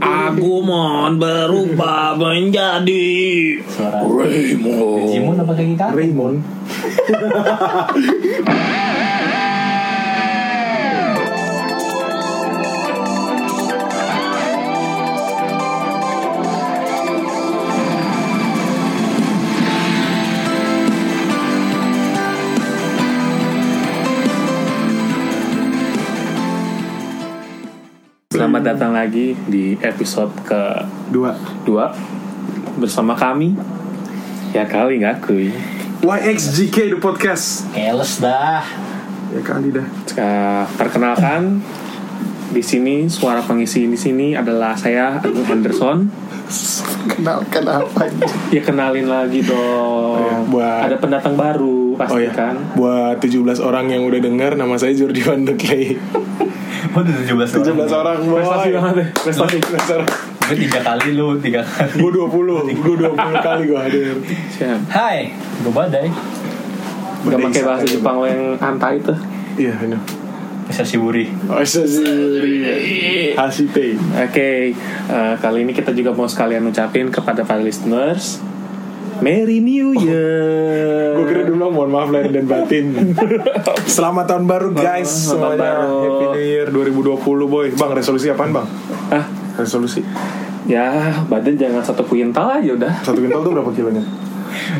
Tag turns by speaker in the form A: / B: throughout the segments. A: Aku mohon berubah menjadi
B: Suara
A: Raymond.
B: Digimon apa kayak kita?
C: Raymond
A: Selamat datang lagi di episode ke
C: dua
A: dua bersama kami. Ya kali nggak kuy.
C: YXGK the podcast
B: Keles dah.
C: ya kali dah
A: Eh, Perkenalkan di sini suara pengisi di sini adalah saya Agung Henderson.
C: kenal kenapa
A: Ya kenalin lagi dong.
D: Oh, iya.
A: Ada pendatang baru pasti
D: Oh ya,
A: kan.
D: buat 17 orang yang udah denger nama saya Jordi Van de Klee.
B: Oh, udah 17
D: 17
B: orang.
D: orang boy.
A: Prestasi banget ya. deh. Prestasi.
D: 17 orang.
B: Gue tiga kali lu tiga kali.
D: Gue 20, gue 20 kali gue hadir.
A: Siap.
B: Hai, gue badai.
A: Gak pakai bahasa Jepang lo yang antai itu.
D: Iya, ini.
B: Bisa siburi.
D: Oh, Sasuri. Hasite.
A: Oke, eh, kali ini kita juga mau sekalian ucapin kepada para listeners Merry New
D: Iya.
A: Year.
D: Gue kira dulu mohon maaf lahir dan batin. Selamat tahun baru guys
A: Selamat
D: semuanya.
A: baru.
D: Happy New Year 2020 boy. Bang, resolusi apaan, Bang?
A: Ah,
D: Resolusi.
A: ya badan jangan satu kuintal aja udah.
D: Satu kental tuh berapa kilonya?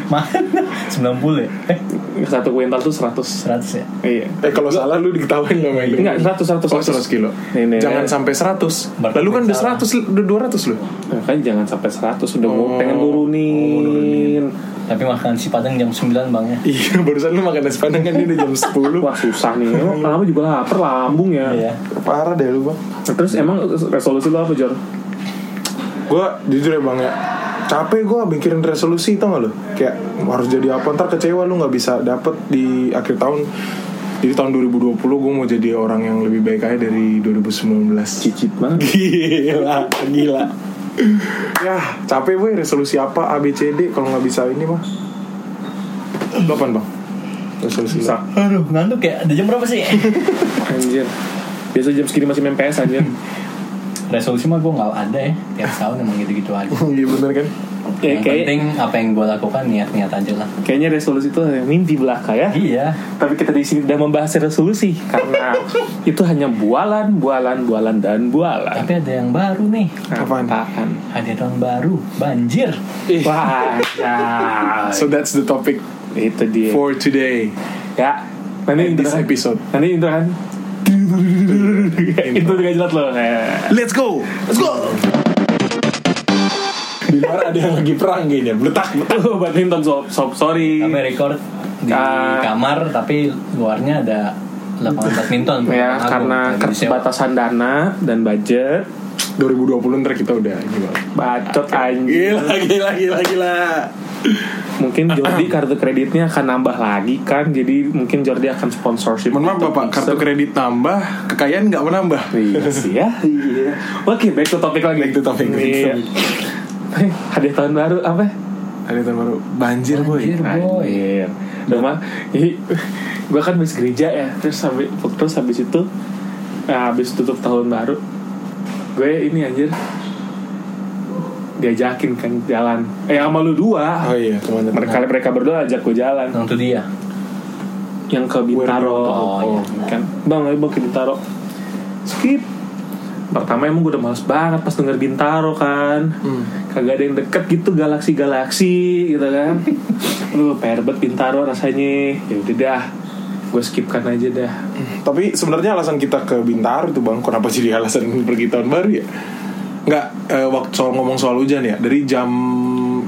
B: Mana? 90 ya? Eh,
A: Satu kuintal tuh 100.
B: 100 ya?
A: Iya.
D: Eh kalau salah lu diketawain sama Eli.
A: Enggak, 100 100.
D: Oh 100 kilo
A: Ini,
D: Jangan
A: ini.
D: sampai 100
B: Berarti
D: Lalu kan udah
B: salah.
D: 100 Udah 200 loh
A: Nah, kan jangan sampai 100 udah mau
D: Oh,
A: pengen nurunin.
B: Tapi makan si Padang jam 9 bang ya
D: Iya barusan lu makan nasi padang kan Ini udah jam 10
A: Wah susah nih. Emang lama juga lapar lambung ya.
B: Iya
D: Parah deh lu bang
A: Terus emang resolusi lo apa Jor?
D: Gue jujur ya bang ya Capek gue mikirin resolusi tau gak lu Kayak harus jadi apa Ntar kecewa lu gak bisa dapet di akhir tahun Jadi tahun 2020 gue mau jadi orang yang lebih baik aja dari 2019
A: Cicit banget.
D: Gila Gila Yah Ya, capek boy resolusi apa ABCD kalau nggak bisa ini mah Lo apaan bang? Resolusi
A: Bisa.
B: Aduh, ngantuk ya? Ada jam berapa sih?
A: Anjir. Biasa jam segini masih main PS anjir.
B: Resolusi mah gue gak ada ya Tiap tahun emang gitu-gitu aja
D: Iya bener kan
A: Ya,
B: Yang
A: kayak-
B: penting apa yang gue lakukan niat-niat aja lah
A: Kayaknya resolusi itu hanya mimpi belaka ya.
B: Iya
A: Tapi kita di sini tidak membahas resolusi karena itu hanya bualan, bualan, bualan dan bualan.
B: Tapi ada yang baru nih
D: Apaan?
A: Apaan?
B: Ada tahun baru Banjir
A: Wah, ya.
D: So that's the topic
A: itu dia.
D: for today
A: Ya, nanti
D: in
A: intro
D: this
A: kan?
D: episode.
A: Nanti intro kan? Itu juga jelas loh. Eh,
D: Let's go, let's go. Di luar ada yang lagi perang kayaknya. Letak, letak.
A: Tuh, badminton sob, sob sorry.
B: Kami record di
A: Ah.
B: kamar Tapi luarnya ada lapangan badminton
A: Ya,
B: Agung,
A: karena
B: yang disewa.
A: keterbatasan dana dan budget,
D: 2020 ntar kita udah ini Bang.
A: bacot anjir.
D: Gila, gila, gila, gila.
A: Mungkin Jordi kartu kreditnya akan nambah lagi kan, jadi mungkin Jordi akan sponsorship.
D: Mohon maaf
A: untuk
D: bapak, kartu
A: Mixer.
D: kredit tambah, kekayaan nggak menambah.
A: Iya sih ya. Iya. Oke, back to topic lagi.
D: Back to topic.
A: Iya. Eh, Hadiah tahun baru apa? Oh,
D: Ada tahun baru banjir boy.
B: Banjir, boy
A: Anjir. Cuma, gue kan habis gereja ya. Terus habis terus habis itu nah, habis tutup tahun baru gue ini anjir diajakin kan jalan. Eh sama lu dua.
D: Oh iya, kemana?
A: Mereka mereka berdua ajak gue jalan
B: Nah, itu dia
A: yang ke Bintaro
B: Oh, iya.
A: kan bang ayo bang ke Bintaro skip pertama emang gue udah males banget pas denger Bintaro kan
D: Hmm.
A: kagak ada yang deket gitu galaksi galaksi gitu kan lu perbet Bintaro rasanya ya udah dah gue skipkan aja dah
D: Tapi sebenarnya alasan kita ke Bintaro itu bang, kenapa jadi alasan pergi tahun baru ya? Nggak, eh, waktu soal ngomong soal hujan ya, dari jam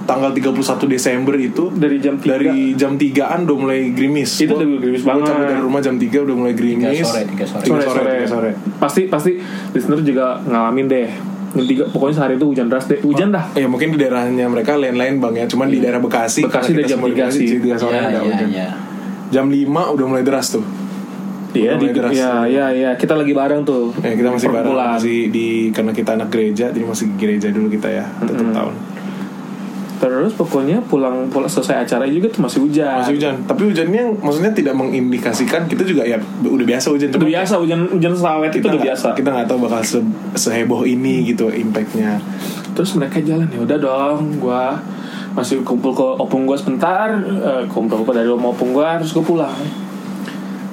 D: tanggal 31 Desember itu
A: dari jam 3
D: dari jam 3-an udah mulai gerimis.
A: Itu
D: Gua-
A: udah gerimis
D: gua
A: banget.
D: cabut dari rumah jam 3 udah mulai gerimis.
B: Tiga sore, tiga sore.
D: Tiga
A: sore sore,
D: tiga sore.
A: pasti pasti listener juga ngalamin deh Jam tiga- pokoknya sehari itu hujan deras deh hujan dah
D: Ya mungkin di daerahnya mereka lain-lain bang ya, cuman di daerah Bekasi.
A: Iya. Bekasi
D: karena
A: udah
D: kita
A: jam
D: semua di
A: tiga
D: Bekasi,
A: sih.
D: jadi tiga sore
B: Iya,
D: ada
B: iya,
D: hujan.
B: iya
D: Jam 5 udah mulai deras tuh.
A: Iya,
D: Udah
A: di,
D: mulai deras.
A: ya, ya, ya, kita lagi bareng tuh.
D: Ya, kita masih bareng
A: Perkumpulan.
D: masih di karena kita anak gereja, jadi masih gereja dulu kita ya, tutup tahun.
A: terus pokoknya pulang pulang selesai acara juga tuh masih hujan
D: masih hujan tapi hujannya maksudnya tidak mengindikasikan kita juga ya udah biasa hujan
A: udah
D: Cuma
A: biasa hujan hujan sawet itu
D: kita
A: udah
D: nggak-
A: biasa
D: kita nggak tahu bakal se- seheboh ini gitu impactnya
A: terus mereka jalan ya udah dong gua masih kumpul ke opung gua sebentar eh, kumpul ke dari rumah opung gua terus gua pulang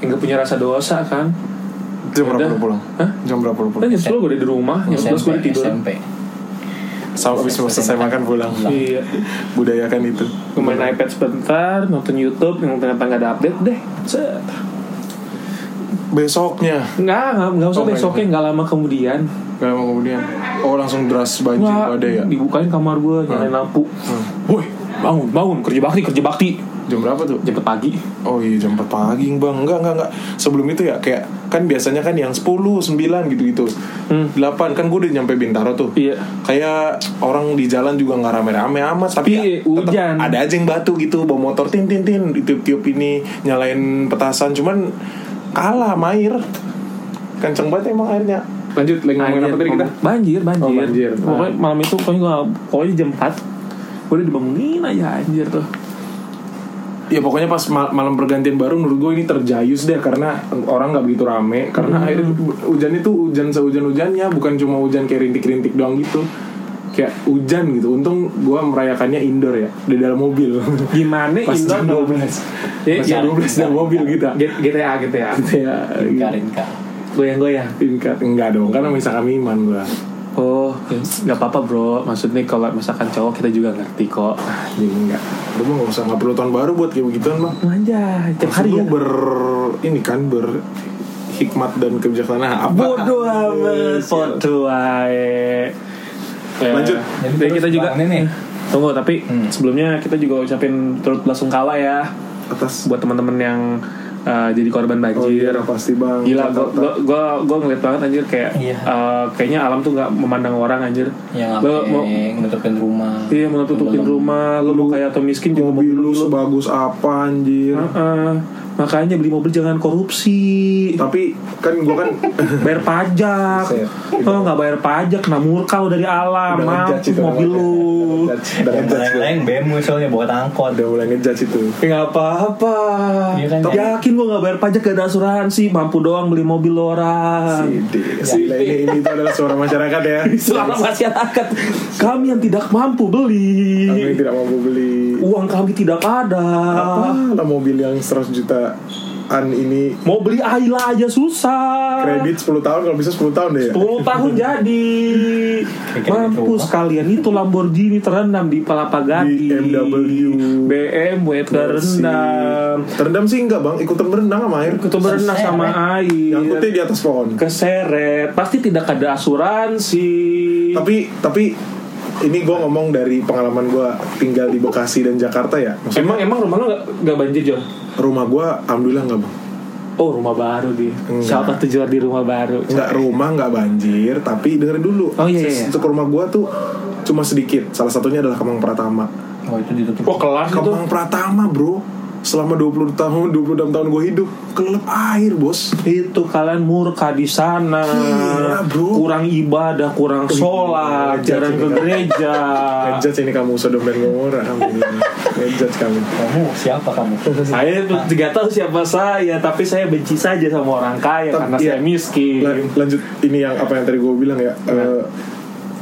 A: enggak punya rasa dosa kan
D: jam
A: Udah.
D: berapa lu pulang
A: Hah?
D: jam berapa lu
A: kan
D: pulang
A: jam 10 gua udah di rumah jam 11 Ya, gua udah tidur
B: SMP.
D: sama habis selesai makan pulang
A: iya
D: budayakan itu
A: Gua main iPad sebentar nonton YouTube yang ternyata nggak ada update deh Set.
D: besoknya
A: nggak nggak nggak usah
D: Oh,
A: besoknya nggak lama kemudian
D: Gak lama kemudian Oh langsung deras banjir
A: Wah,
D: badai ya
A: dibukain kamar gua nyalain lampu
D: Hmm.
A: woi bangun bangun kerja bakti kerja bakti
D: Jam berapa tuh?
A: jam 4 pagi
D: Oh iya jam 4 pagi bang Enggak enggak enggak Sebelum itu ya kayak Kan biasanya kan yang 10, 9 gitu-gitu
A: Hmm.
D: 8 kan gue udah nyampe Bintaro tuh
A: Iya.
D: Kayak orang di jalan juga nggak rame-rame amat Tapi
A: Iya,
D: ya, tetep
A: hujan.
D: Ada aja yang batu gitu Bawa motor tin tin tin Ditiup-tiup ini Nyalain petasan Cuman kalah sama air Kenceng banget emang airnya
C: Lanjut lagi ngomongin apa tadi kita?
A: Banjir, banjir.
C: Oh, banjir.
A: Pokoknya malam itu pokoknya gua pokoknya jam 4 gua udah dibangunin aja anjir tuh.
D: Ya pokoknya pas ma- malam pergantian baru menurut gue ini terjayus deh karena orang nggak begitu rame
C: Hmm.
D: karena air hujan itu hujan sehujan hujannya bukan cuma hujan kayak rintik-rintik doang gitu kayak hujan gitu untung gue merayakannya indoor ya di dalam mobil
A: Gimana
D: pas jam
A: Indo
D: 12
A: Ya,
D: pas jam
A: ya.
D: 12 dalam mobil kita
A: G- GTA GTA.
D: ya
A: Iya.
B: Rinka Rinka.
A: Goyang-goyang.
D: tingkat enggak dong karena misalkan iman gue
A: Oh, nggak apa-apa bro. Maksudnya kalau misalkan cowok kita juga ngerti kok.
D: jadi enggak lu mah nggak usah nggak perlu tahun baru buat kayak begituan mah
A: Manja, tiap hari
D: lu
A: ya.
D: ber ini kan ber hikmat dan kebijaksanaan Nah, apa
A: Bodoh amat, bodoh ae. Eh,
D: Lanjut.
B: Jadi
A: Dan
B: terus
A: kita juga Iya.
B: bang ini.
A: Tunggu, tapi sebelumnya kita juga ucapin turut belasungkawa ya
D: atas
A: buat teman-teman yang eh, jadi korban banjir.
D: Oh iya, pasti bang.
A: Gila,
D: Catat,
A: gue gue gue ngeliat banget anjir kayak
B: Iya.
A: eh, kayaknya alam tuh nggak memandang orang anjir.
B: Yang
D: Iya,
A: Lo mau
B: sampai nutupin rumah.
A: iya mau tutupin
B: Belum.
A: rumah, lu mau kayak atau miskin juga
D: mobil lu sebagus apa anjir.
A: Heeh. makanya beli mobil jangan korupsi,
D: Tapi kan gua kan
A: bayar pajak.
D: Saya-
A: Kalau nggak bayar pajak, kena murka lu dari alam,
D: udah ngejudge
A: mampus
D: itu
A: mobil
D: namanya.
A: lu.
D: Udah ngejudge, Udah
B: Yang
D: ngejudge gua.
B: lain-lain bemu soalnya bawa tangkot.
D: Udah mulai ngejudge itu.
A: Ya nggak apa-apa.
B: Iya kan,
A: Tapi
B: ya.
A: yakin gua nggak bayar pajak gak ada asuransi, mampu doang beli mobil lu orang.
D: Ide. Gila, ini ini itu adalah suara masyarakat ya.
A: Selama masyarakat kami yang tidak mampu beli.
D: Kami tidak mampu beli
A: Uang kami tidak ada.
D: apalah mobil yang 100 jutaan ini
A: Mau beli Ayla aja susah.
D: kredit 10 tahun kalau bisa 10 tahun deh ya.
A: 10 tahun jadi.
B: Kredit
A: Mampus
B: rumah.
A: kalian itu Lamborghini terendam di Palapa Gading.
D: BMW.
A: BMW terendam.
D: Terendam sih enggak bang, ikutan berenang sama air.
A: Itu berenang sama
D: Nyangkutnya
A: air.
D: di atas pohon.
A: Keseret. Pasti tidak ada asuransi.
D: tapi tapi ini gue ngomong dari pengalaman gue tinggal di Bekasi dan Jakarta ya Maksud-
A: emang emang rumah lu gak, banjir John?
D: rumah gue alhamdulillah nggak bang
A: Oh rumah baru dia.
D: Enggak.
A: Siapa tujuan di rumah baru?
D: nggak rumah nggak banjir tapi dengerin dulu
A: ya? Oh, iya, iya.
D: Untuk rumah gue tuh cuma sedikit salah satunya adalah Kemang Pratama
B: Oh itu ditutup.
A: Wah kelas itu.
D: Kemang Pratama bro selama 20 tahun 26 tahun gue hidup kelelep air bos
A: itu kalian murka di sana
D: Gila, bro.
A: kurang ibadah kurang sholat
D: ngejudge
A: jarang ke
D: ini.
A: gereja
D: ngejudge ini kamu Sodom dan Gomora alhamdulillah ngejudge kamu
B: Kamu siapa kamu?
A: saya tidak tahu siapa saya tapi saya benci saja sama orang kaya karena
D: Tapi,
A: saya
D: iya.
A: miskin
D: Lan- lanjut ini yang apa yang tadi gue bilang ya
A: Iya.
D: eh,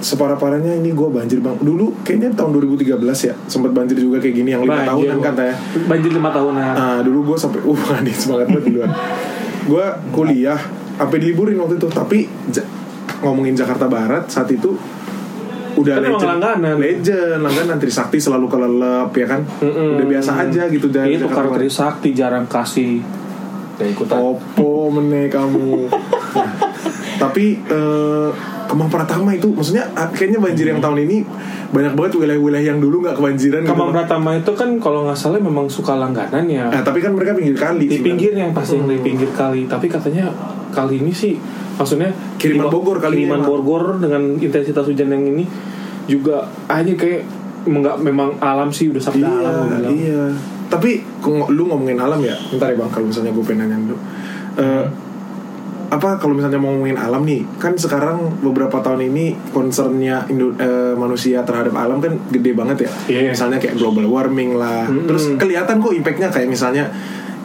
D: separah-parahnya ini gue banjir bang dulu kayaknya tahun 2013 ya sempat banjir juga kayak gini yang lima
A: Banjir,
D: kan, tahunan
A: Bang.
D: katanya
A: banjir lima tahunan
D: nah dulu gue sampai uh aneh semangat banget duluan gue kuliah sampai diliburin waktu itu tapi Ja- ngomongin Jakarta Barat saat itu udah
A: Kan emang
D: legend
A: langganan.
D: legend langganan Trisakti selalu kelelep ya kan
A: Mm-mm.
D: udah biasa aja gitu dari
A: itu
D: Jakarta
A: karena
D: Barat. Gitu
A: Trisakti jarang kasih
B: Udah Ya, ikutan.
D: Opo meneh kamu. Nah, tapi eh, Kemang Pratama itu maksudnya ah, kayaknya banjir yang tahun ini banyak banget wilayah-wilayah yang dulu nggak kebanjiran gitu.
A: Kamang Pratama itu kan kalau nggak salah memang suka langganan ya
D: Nah, tapi kan mereka pinggir
A: di
D: kali. sebenarnya.
A: pinggir yang pasti yang di pinggir kali tapi katanya kali ini sih maksudnya
D: Kiriman Bogor kali ini,
A: kiriman
D: Mak.
A: Bogor dengan intensitas hujan yang ini juga aja kayak enggak memang alam sih udah sabda
D: Iya,
A: alam gua bilang.
D: iya. Tapi kok ngo- lu ngomongin alam ya, bentar ya bang, kalau misalnya gue pengen nanya dulu. Eh, apa kalau misalnya mau ngomongin alam nih kan sekarang beberapa tahun ini concernnya Indo- eh, manusia terhadap alam kan gede banget ya
A: Iya.
D: misalnya kayak global warming lah terus kelihatan kok impactnya kayak misalnya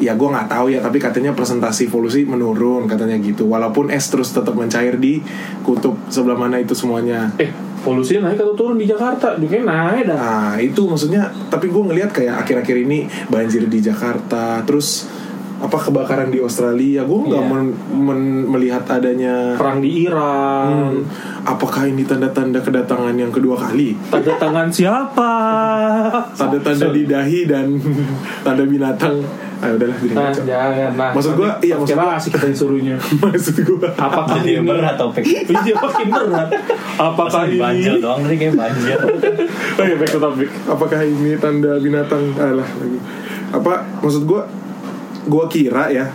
D: ya gue nggak tahu ya tapi katanya presentasi polusi menurun katanya gitu walaupun es terus tetap mencair di kutub sebelah mana itu semuanya
A: eh polusinya naik atau turun di Jakarta juga naik dah
D: Nah itu maksudnya Tapi gue ngelihat kayak akhir-akhir ini Banjir di Jakarta Terus apa kebakaran di Australia Gue nggak
B: Iya.
D: men- men- melihat adanya
A: perang di Iran
D: Hmm, Apakah ini tanda-tanda kedatangan yang kedua kali
A: tanda tangan siapa
D: Tanda-tanda di dahi dan Tanda binatang Ayo udahlah jadi
A: nah
D: ngaco.
A: jangan nah
D: Maksud gua,
A: nanti
D: iya, maksud
A: kira
D: gua-
A: asik kita disuruhnya
D: Maksud gue
A: apakah
B: Jadi
A: ini
B: berat topik.
A: Iya makin berat apakah
B: Pasti banjir
A: ini
B: doang tadi kayak banjir.
A: oh iya back to topic
D: apakah ini tanda binatang alah lagi apa maksud gua gua kira ya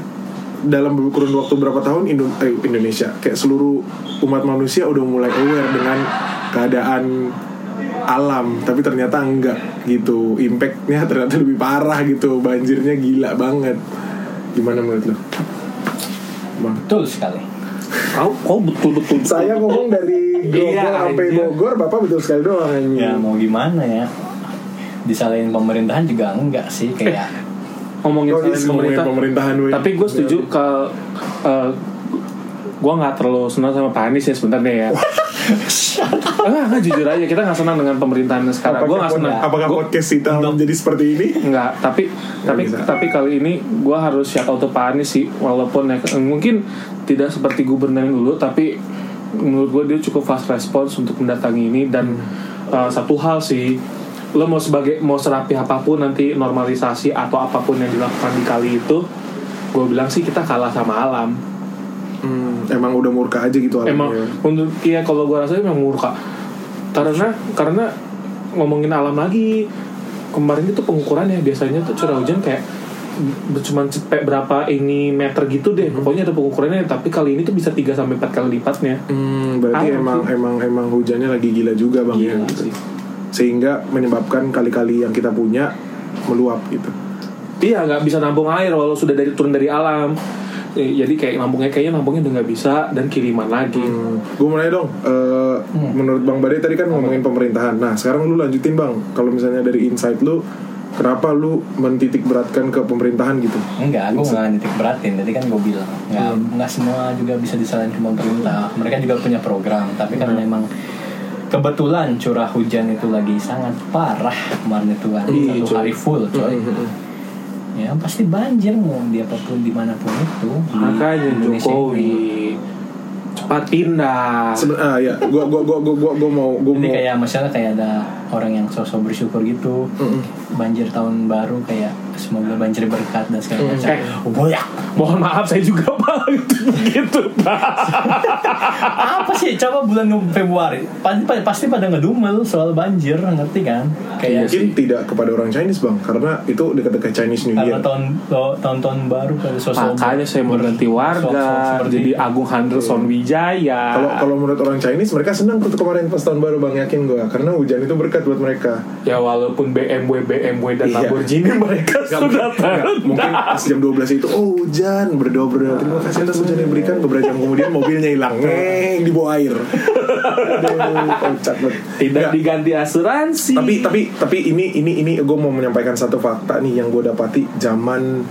D: dalam kurun waktu berapa tahun Indo- eh, Indonesia kayak seluruh umat manusia udah mulai aware dengan keadaan alam tapi ternyata enggak gitu impactnya ternyata lebih parah gitu banjirnya gila banget gimana menurut lo bang
B: Betul sekali.
A: kau kau betul betul
C: Saya ngomong dari Grogol
A: Iya,
C: sampai
A: anjir. Iya. Nah,
C: Bogor, Bapak betul sekali doang anjing.
B: Ya mau gimana ya? Disalahin pemerintahan juga enggak sih kayak
A: ngomongin
D: Oh, ini
A: soal
D: ngomongin
A: pemerintah
D: pemerintahan, weh.
A: tapi gue setuju ke eh, gue nggak terlalu senang sama Pak Anies ya sebenarnya ya enggak enggak jujur aja kita nggak senang dengan pemerintahan sekarang gue nggak
D: pod-
A: senang
D: apakah
A: Gua-
D: podcast kita menjadi seperti ini
A: Enggak, tapi tapi
D: bisa.
A: tapi kali ini gue harus shout out to Pak Anies sih walaupun ya, mungkin tidak seperti gubernur yang dulu tapi menurut gue dia cukup fast response untuk mendatangi ini dan uh, satu hal sih lo mau sebagai mau serapi apapun nanti normalisasi atau apapun yang dilakukan di kali itu gue bilang sih kita kalah sama alam
D: Hmm, emang udah murka aja gitu
A: emang
D: alamnya.
A: untuk iya kalau gue rasanya memang murka karena karena ngomongin alam lagi kemarin itu pengukuran ya biasanya tuh curah hujan kayak b- cuman cepet berapa ini meter gitu deh pokoknya ada pengukurannya tapi kali ini tuh bisa 3 sampai 4 kali lipatnya
D: Hmm, berarti
A: Alam
D: emang
A: sih.
D: emang emang hujannya lagi gila juga bang ya,
A: Gila
D: gitu.
A: Iya sih.
D: sehingga menyebabkan kali-kali yang kita punya meluap gitu.
A: Iya nggak bisa nampung air walau sudah dari turun dari alam Eh, jadi kayak nampungnya kayaknya nampungnya udah nggak bisa dan kiriman lagi
D: Hmm. Gue mau nanya dong, eh,
A: Hmm.
D: menurut bang Bade tadi kan ngomongin pemerintahan. Nah sekarang lu lanjutin bang, kalau misalnya dari insight lu, kenapa lu mentitik beratkan ke pemerintahan gitu?
B: Enggak, gue nggak titik beratin. Tadi kan gue bilang, nggak
A: Hmm.
B: nggak semua juga bisa disalahin ke pemerintah. Mereka juga punya program, tapi kan
A: Hmm.
B: memang kebetulan curah hujan itu lagi sangat parah kemarin itu kan
A: Iya, hmm,
B: satu
A: coy.
B: hari full coy. Ya pasti banjir mau di apapun dimanapun itu. Di
A: makanya
B: Indonesia
A: Jokowi
B: ini.
A: cepat pindah
D: Seben- ah ya, gue gua gua gua gua gua mau gua
B: Jadi
D: mau
B: kayak misalnya kayak ada orang yang sosok bersyukur gitu
A: Hmm,
B: Banjir tahun baru kayak semoga banjir berkat dan segala macam
A: Eh.
B: Boyak.
A: mohon maaf saya juga pak gitu pak
B: apa sih coba bulan Februari pasti pa- pasti pada ngedumel soal banjir ngerti kan
A: Iya
B: kayak
D: mungkin tidak kepada orang Chinese bang, karena itu dekat-dekat Chinese New
B: karena
D: Year.
B: tahun tahun tahun baru kan, pada sosok
A: makanya saya mau ganti warga
B: seperti
A: jadi Agung Henderson Wijaya
D: Kalau kalau menurut orang Chinese mereka senang tuh kemarin pas tahun baru bang yakin gue, karena hujan itu berkat buat mereka.
A: ya walaupun BMW BMW dan
D: Iya.
A: Lamborghini mereka
D: Nggak,
A: sudah
D: mungkin- nggak, mungkin
A: tanda
D: pas jam 12 itu oh hujan berdoa berdoa terima kasih atas hujan yang diberikan beberapa jam kemudian mobilnya hilang ngeng di bawah air Aduh, kocak banget.
A: tidak
D: Nggak,
A: diganti asuransi
D: tapi tapi tapi ini ini ini gue mau menyampaikan satu fakta nih yang gue dapati zaman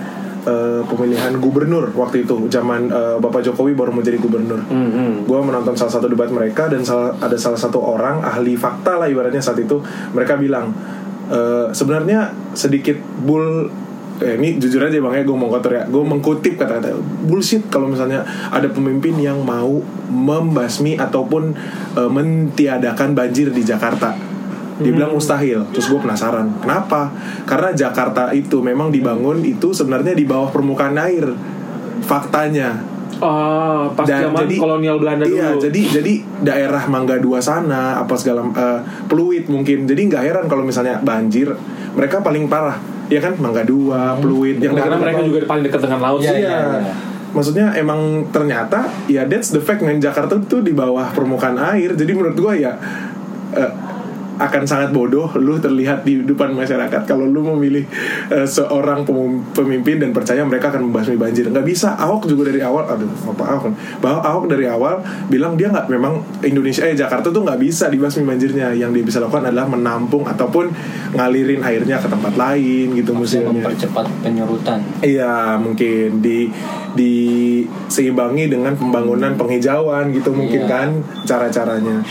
D: eh, pemilihan gubernur waktu itu zaman eh, bapak jokowi baru mau jadi gubernur gue menonton salah satu debat mereka dan salah- ada salah satu orang ahli fakta lah ibaratnya saat itu mereka bilang "E, sebenarnya sedikit bull eh, ini jujur aja bang ya gue mau kotor ya gue mengkutip kata-kata bullshit kalau misalnya ada pemimpin yang mau membasmi ataupun e, mentiadakan banjir di Jakarta dibilang mustahil terus gue penasaran kenapa karena Jakarta itu memang dibangun itu sebenarnya di bawah permukaan air faktanya
A: ah pas
D: dan
A: zaman
D: jadi-
A: kolonial Belanda
D: iya,
A: dulu
D: jadi jadi daerah Mangga Dua sana apa segala eh, Pluit mungkin. Jadi nggak heran kalau misalnya banjir mereka paling parah. Ya kan Mangga Dua, Pluit yang
A: karena
D: daerah-
A: Hmm. mereka juga paling dekat dengan laut
B: Iya,
A: sih
D: Iya.
B: iya.
D: Maksudnya emang ternyata ya that's the fact men Jakarta tuh di bawah permukaan air. Jadi menurut gua ya eh, akan sangat bodoh lu terlihat di depan masyarakat kalau lu memilih eh, seorang pemum- pemimpin dan percaya mereka akan membasmi banjir nggak bisa Ahok juga dari awal aduh apa Ahok bahwa Ahok dari awal bilang dia nggak memang Indonesia eh Jakarta tuh nggak bisa dibasmi banjirnya yang dia bisa lakukan adalah menampung ataupun ngalirin airnya ke tempat lain gitu
B: Maksudnya
D: musimnya
B: mempercepat penyurutan
D: Iya mungkin di di seimbangi dengan pembangunan penghijauan gitu mungkin
B: Iya.
D: kan cara-caranya.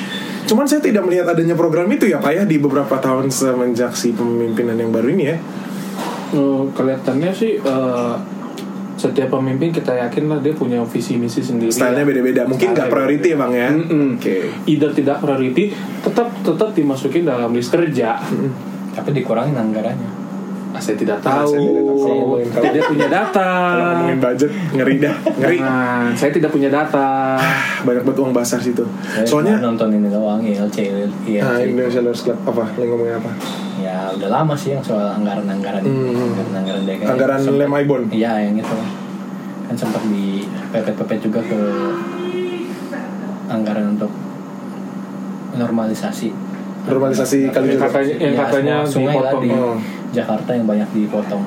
D: Cuman saya tidak melihat adanya program itu ya Pak ya di beberapa tahun semenjak si pemimpinan yang baru ini ya.
A: Oh, kelihatannya sih eh, setiap pemimpin kita yakin lah dia punya visi misi sendiri.
D: Stylenya
A: ya.
D: beda-beda. Mungkin nggak
A: Stylenya
D: priority ya Bang ya.
A: Mm-mm. Either tidak priority, tetap tetap dimasukin dalam list kerja.
D: Mm-hmm.
B: tapi dikurangin anggarannya
A: Nah, saya tidak
D: Nah,
A: tahu.
D: saya tidak tahu. Kalau-
A: Saya tidak punya data.
D: Kalau ngomongin budget ngeri dah, ngeri. Ah,
A: Nah, saya tidak punya data.
D: Banyak banget uang basah situ.
B: Saya
D: Soalnya
B: cuma nonton ini doang ya, ILC
D: Nah,
B: ILC.
D: Indonesia Lawyers Club apa? Lagi ngomongin apa?
B: iya, ya udah lama sih yang soal anggaran anggaran
D: Hmm.
B: anggaran anggaran DKI
D: Anggaran
B: Sempet-
D: lem Aibon.
B: iya yang itu kan sempat di pepet-pepet juga ke anggaran untuk normalisasi
D: Normalisasi kali
A: Yang katanya, yang
B: Ya,
A: katanya
B: semua sungai lah
A: dipotong.
B: di
D: Oh.
B: Jakarta yang banyak dipotong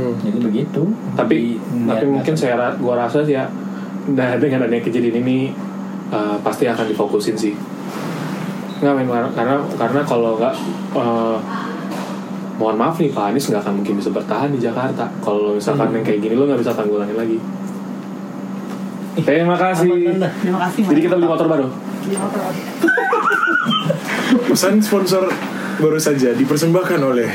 D: Hmm.
B: jadi begitu
A: tapi
B: Jadi,
A: tapi
B: niat-
A: mungkin
B: niat-
A: saya ra- gua rasa sih ya nah, dengan adanya kejadian ini eh, pasti akan difokusin sih nggak men karena- karena karena kalau nggak eh, mohon maaf nih Pak Anies nggak akan mungkin bisa bertahan di Jakarta kalau misalkan yang kayak gini lo nggak bisa tanggulangin lagi terima kasih
B: Aman, aman,
E: Terima kasih.
A: jadi kita beli motor baru
D: Pesan sponsor baru saja dipersembahkan oleh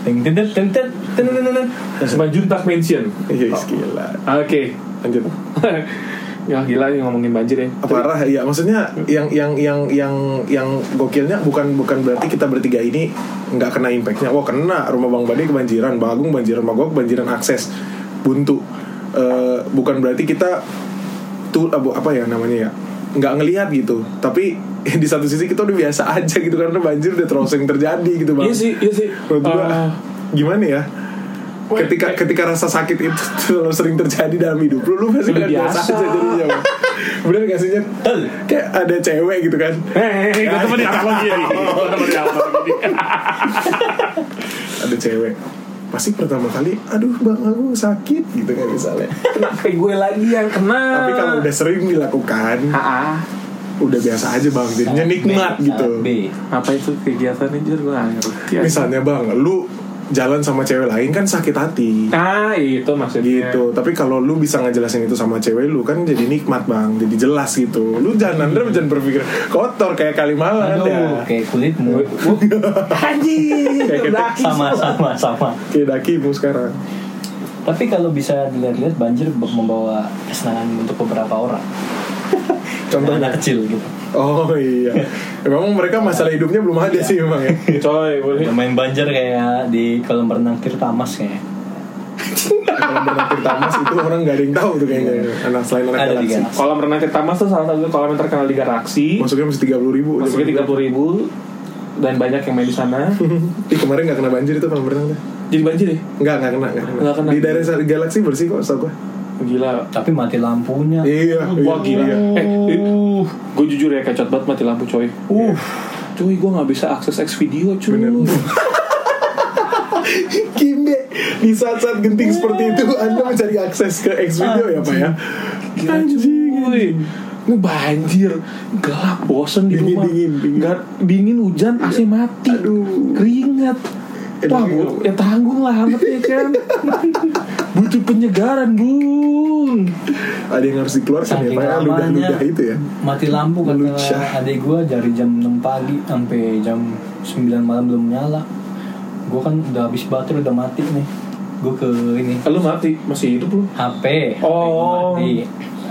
B: Ting, ting, ting, ting, ting, ting, ting, ting, ting.
A: Semanjuntak Mansion
D: Iya, gila.
A: oke
D: Lanjut.
A: ya gila nih ngomongin banjir ya
D: parah ya maksudnya yang yang yang yang yang gokilnya bukan bukan berarti kita bertiga ini nggak kena impactnya wah kena rumah bang Bade kebanjiran bang Agung banjiran bang Gua kebanjiran akses buntu Eh, bukan berarti kita tuh apa apa ya namanya ya nggak ngelihat gitu tapi di satu sisi kita udah biasa aja gitu karena banjir udah terus yang terjadi gitu bang
A: iya sih iya sih
D: Menurut gua,
A: Eh,
D: gimana ya ketika ketika rasa sakit itu terlalu sering terjadi dalam hidup lu lu pasti
A: Udah
D: kan biasa
A: biasa.
D: aja jadinya Bang. bener gak sih Jen? kayak ada cewek gitu kan
A: Eh, gue temenin apologi ya. Gue temenin apologi.
D: ada cewek pasti pertama kali aduh bang aku sakit gitu kan misalnya
A: Tapi gue lagi yang kena.
D: tapi kalau udah sering dilakukan
A: Ah,
D: udah biasa aja bang
B: Saat
D: jadinya
B: B,
D: nikmat
B: saat
D: gitu
B: B.
A: apa itu kegiatan ini jujur gue nggak ngerti. Ya.
D: misalnya bang lu jalan sama cewek lain kan sakit hati
A: Nah, itu maksudnya.
D: gitu tapi kalau lu bisa ngejelasin itu sama cewek lu kan jadi nikmat bang jadi jelas gitu lu jangan Andre jangan berpikir kotor kayak kalimalan
B: Aduh,
D: ya
B: kayak kulitmu
A: Anjing.
D: Kayak kita-
A: daki.
B: sama sama sama
D: kayak dakimu sekarang
B: Tapi kalau bisa dilihat-lihat banjir be- membawa kesenangan untuk beberapa orang.
D: Contohnya?
B: anak kecil gitu.
D: oh iya memang mereka masalah hidupnya belum ada sih memang ya
A: Coy, boleh.
B: Udah main banjir kayak di kolam renang Tirtamas kayaknya.
D: kalau berenang Tirtamas itu orang gak ada yang tahu tuh kayaknya
A: Iya,
D: anak selain anak
B: Ada di
D: galaksi
B: Galaxy.
A: Kolam renang Tirtamas tuh salah satu kolam yang terkenal di Galaksi.
D: masuknya mesti tiga puluh ribu
A: Masuknya tiga puluh ribu dan banyak yang main di sana.
D: Ih, kemarin gak kena banjir itu kalau berenang tuh
A: Jadi banjir ya?
D: Enggak, enggak kena, nggak kena.
A: Nggak kena.
D: Di daerah galaksi bersih kok, setahu gue.
A: Gila.
B: Tapi mati lampunya.
D: Iya,
A: Wah
D: iya,
A: gila.
D: iya.
A: Eh, gue jujur ya kacot banget mati lampu coy. Uh, cuy gue nggak bisa akses X video cuy.
D: Kimbe di saat-saat genting seperti itu Anda mencari akses ke X video ya Pak ya
A: Anjing cuy. Ini banjir, gelap, bosen di
D: Dingin,
A: rumah.
D: dingin, dingin. Iya.
A: Nggak- dingin, hujan, AC mati.
D: Aduh.
A: Keringat.
D: Eh,
A: Wah,
D: dingin.
A: bu, ya tanggung lah amat ya kan. Butuh penyegaran, Bung.
D: Ada yang harus dikeluarkan ya
B: Saking
D: Pak ya
B: lamanya.
D: Ludah-ludah itu ya
B: Mati lampu
D: Meluncur.
B: kata adik gue dari jam 6 pagi sampai jam 9 malam belum nyala. Gue kan udah habis baterai udah mati nih. Gue ke ini
A: Eh, Lu mati, masih hidup lu.
B: HP.
A: Oh.
B: Mati.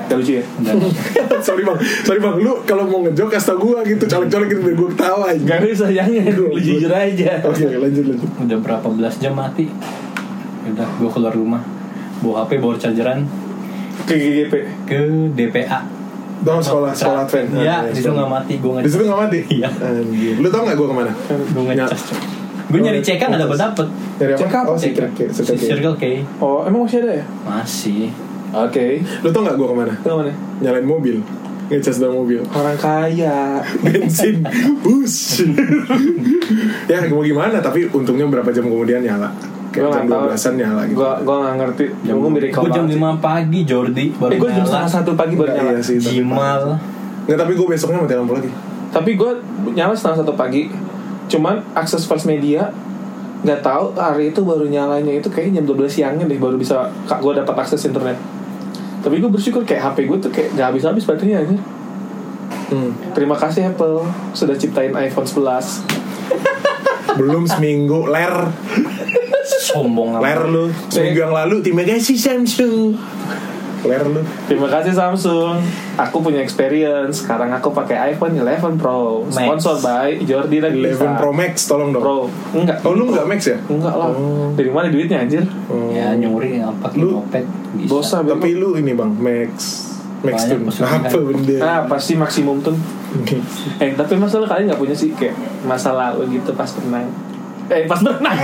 A: Gak lucu ya?
B: Dan
D: Sorry bang Sorry bang Lu kalau mau ngejok Kasih tau gue gitu Colek-colek gitu Biar gue ketawa aja
A: Gak bisa, jangan. Lu jujur aja.
D: Oke oke, lanjut lanjut
B: udah berapa belas jam mati udah gue keluar rumah bawa HP bawa chargeran
A: Ke GGP.
B: ke DPA
D: Bang Oh, sekolah Sekolah Advent
A: Iya,
B: ya
D: Nah,
B: di situ nggak mati gue
D: Di
B: ngecas
D: situ gak mati?
B: Iya.
D: Anjir. Lu tau gak gue kemana?
B: gue
A: Ya.
B: ngecas gue nyari CK nggak dapet dapet
D: Dari apa?
A: Cek apa?
D: Oh
B: CK
D: si Circle K,
B: si
D: Circle K.
B: Circle K
A: Oh, emang masih ada ya?
B: masih
A: Oke.
D: Lu tau gak gue kemana?
A: Ke mana?
D: Nyalain mobil ngecas dalam mobil orang kaya bensin bus ya mau gimana tapi untungnya berapa jam kemudian nyala kayak
A: Gua
D: jam
A: nggak tahu.
D: 12an nyala gitu
A: Gua gua nggak ngerti. Gua mirip kau
B: Gue jam
A: banget sih.
B: 5 pagi Jordi baru
A: Eh, gue jam
B: nyala.
A: setengah satu pagi baru
D: Nggak,
A: nyala.
D: iya sih tapi-
B: Jimal.
D: nggak tapi gue besoknya mati lampu lagi
A: Tapi gue nyala setengah satu pagi. Cuman akses first media nggak tahu hari itu baru nyalanya itu kayaknya jam 12 siangnya deh baru bisa kak gue dapat akses internet. Tapi gue bersyukur kayak HP gue tuh kayak nggak habis-habis baterainya aja.
D: Hmm.
A: Terima kasih Apple sudah ciptain iPhone 11.
D: belum seminggu ler
B: Sombong amat.
D: ler lu seminggu yang lalu terima kasih Samsung ler lu
A: Terima kasih Samsung. Aku punya experience. Sekarang aku pakai iPhone 11 Pro.
B: Max.
A: Sponsor by Jordi lagi.
D: 11 Pro Max tolong dong
A: Pro. Enggak.
D: oh lu nggak Max ya
A: Enggak lah. Dari mana duitnya anjir?
D: Oh.
B: Ya nyuri apa
D: Lu-
B: ngopet bisa.
A: Dosa bego.
D: tapi lu ini bang Max
B: Banyak
D: Max tuh
B: pesugihan.
D: apa benda
A: Ah, pasti maksimum tuh. Eh, tapi masalah kalian nggak punya sih kayak masa lalu gitu pas berenang. Eh, pas berenang.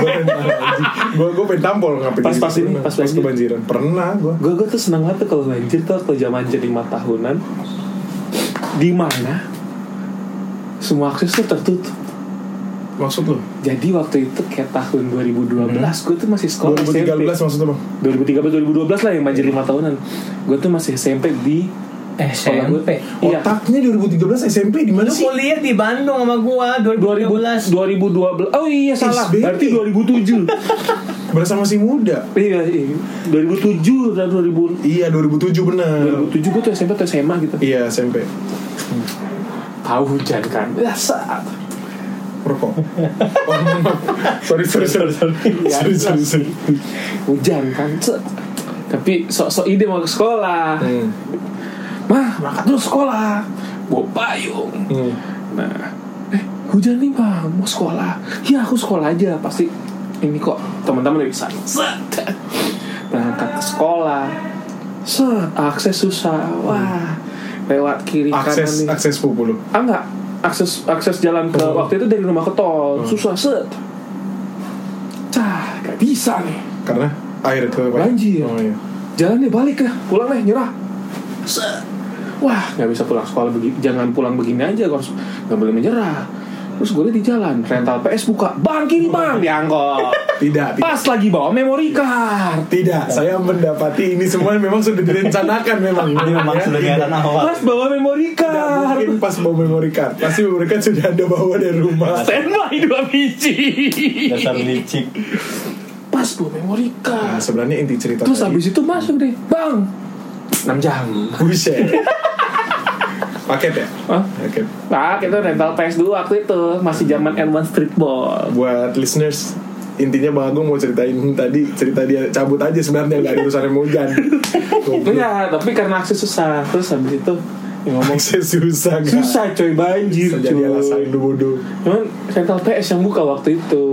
D: gue gue pengen tampol ngapain
A: Pas-
D: jadi
A: pas ini,
D: pernah.
A: pas lagi.
D: kebanjiran pernah gue
A: gue gue tuh seneng banget tuh kalau banjir tuh waktu zaman jadi lima tahunan. Di mana semua akses tuh tertutup.
D: maksud lu
A: Jadi waktu itu kayak tahun 2012 gue tuh masih sekolah
D: 2013
A: SMP.
D: maksud lu bang
A: 2013 2012 lah yang banjir lima tahunan. Gue tuh masih SMP di
B: Eh
A: sekolah gue.
B: SMP.
A: Iya.
D: otaknya 2013 SMP di
B: Lu
D: mana sih
B: kuliah di Bandung sama gua
A: 2000,
B: 2013.
A: 2012 oh iya salah
D: SBY.
A: berarti 2007
D: berasa masih muda
A: iya, iya 2007 dan 2000
D: iya 2007 bener
A: 2007 gue tuh SMP atau SMA gitu
D: iya SMP
A: tahu hujan kan biasa
D: rokok oh, maaf. sorry sorry sorry sorry sorry sorry
A: hujan kan Cet. tapi sok-sok ide mau ke sekolah
D: Hmm.
A: mah berangkat dulu sekolah bawa payung
D: Hmm.
A: nah eh hujan nih bang mau sekolah ya aku sekolah aja pasti ini kok teman-teman bisa set berangkat ke sekolah set akses susah wah lewat kiri kanan
D: akses Oh.
A: nih
D: akses pupu lu
A: ah enggak akses akses jalan ke waktu itu dari rumah ke tol
D: Hmm.
A: susah set cah gak bisa nih
D: karena air itu apa?
A: Banjir.
D: oh, iya.
A: jalan deh balik lah pulang deh nyerah set wah nggak bisa pulang sekolah begini jangan pulang begini aja harus nggak boleh menyerah terus gue liat di jalan rental PS buka bang kiri bang diangkut
D: tidak tidak
A: pas lagi bawa memory card
D: tidak saya mendapati ini semua memang sudah direncanakan memang
B: Ini memang
D: Ya,
A: Iya.
B: sudah
D: tidak.
B: kelihatan awal.
A: pas bawa memory
D: Tidak
A: card
D: mungkin pas bawa memory card Pasti memory card sudah ada bawa dari rumah
A: standby dua biji
B: Dasar licik.
A: pas bawa memory
D: Nah
A: card
D: sebenarnya inti cerita
A: Terus
D: tadi.
A: habis itu masuk deh, bang. 6 jam.
D: Buset Paket ya?
A: Hah?
D: Paket
A: Nah, kita rental PS dulu waktu itu masih zaman N1 Streetball.
D: Buat listeners Intinya Bang Agung mau ceritain tadi Cerita dia cabut aja sebenarnya Gak ada urusannya mau hujan Goblok.
A: Iya, tapi karena akses susah, terus habis itu ya ngomong
D: Akses susah gak?
A: susah coy banjir
D: Bisa jadi
A: coy.
D: alasan bodoh
A: Cuman rental PS yang buka waktu itu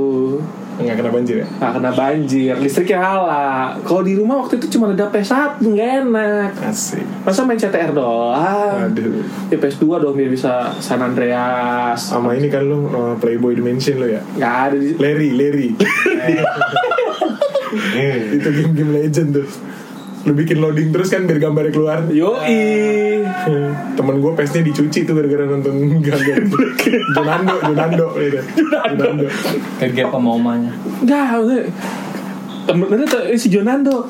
D: Gak kena banjir ya?
A: Nah kena banjir, listriknya kalah Kalau di rumah waktu itu cuma ada PS1, nggak enak
D: Asik
A: Masa main CTR doang?
D: Aduh
A: Ya PS2 dong biar bisa San Andreas
D: Sama ini kan lu uh, Playboy Dimension lu ya?
A: Nggak ada di
D: Larry, Larry Itu game-game legend tuh Lu bikin loading terus kan biar gambarnya keluar
A: Yoi
D: temen gue pesnya dicuci tuh gara-gara nonton gambar Junando Junando gitu Junando
B: Kegep sama omanya.
A: Enggak, maksudnya Bener tuh eh, si Jonando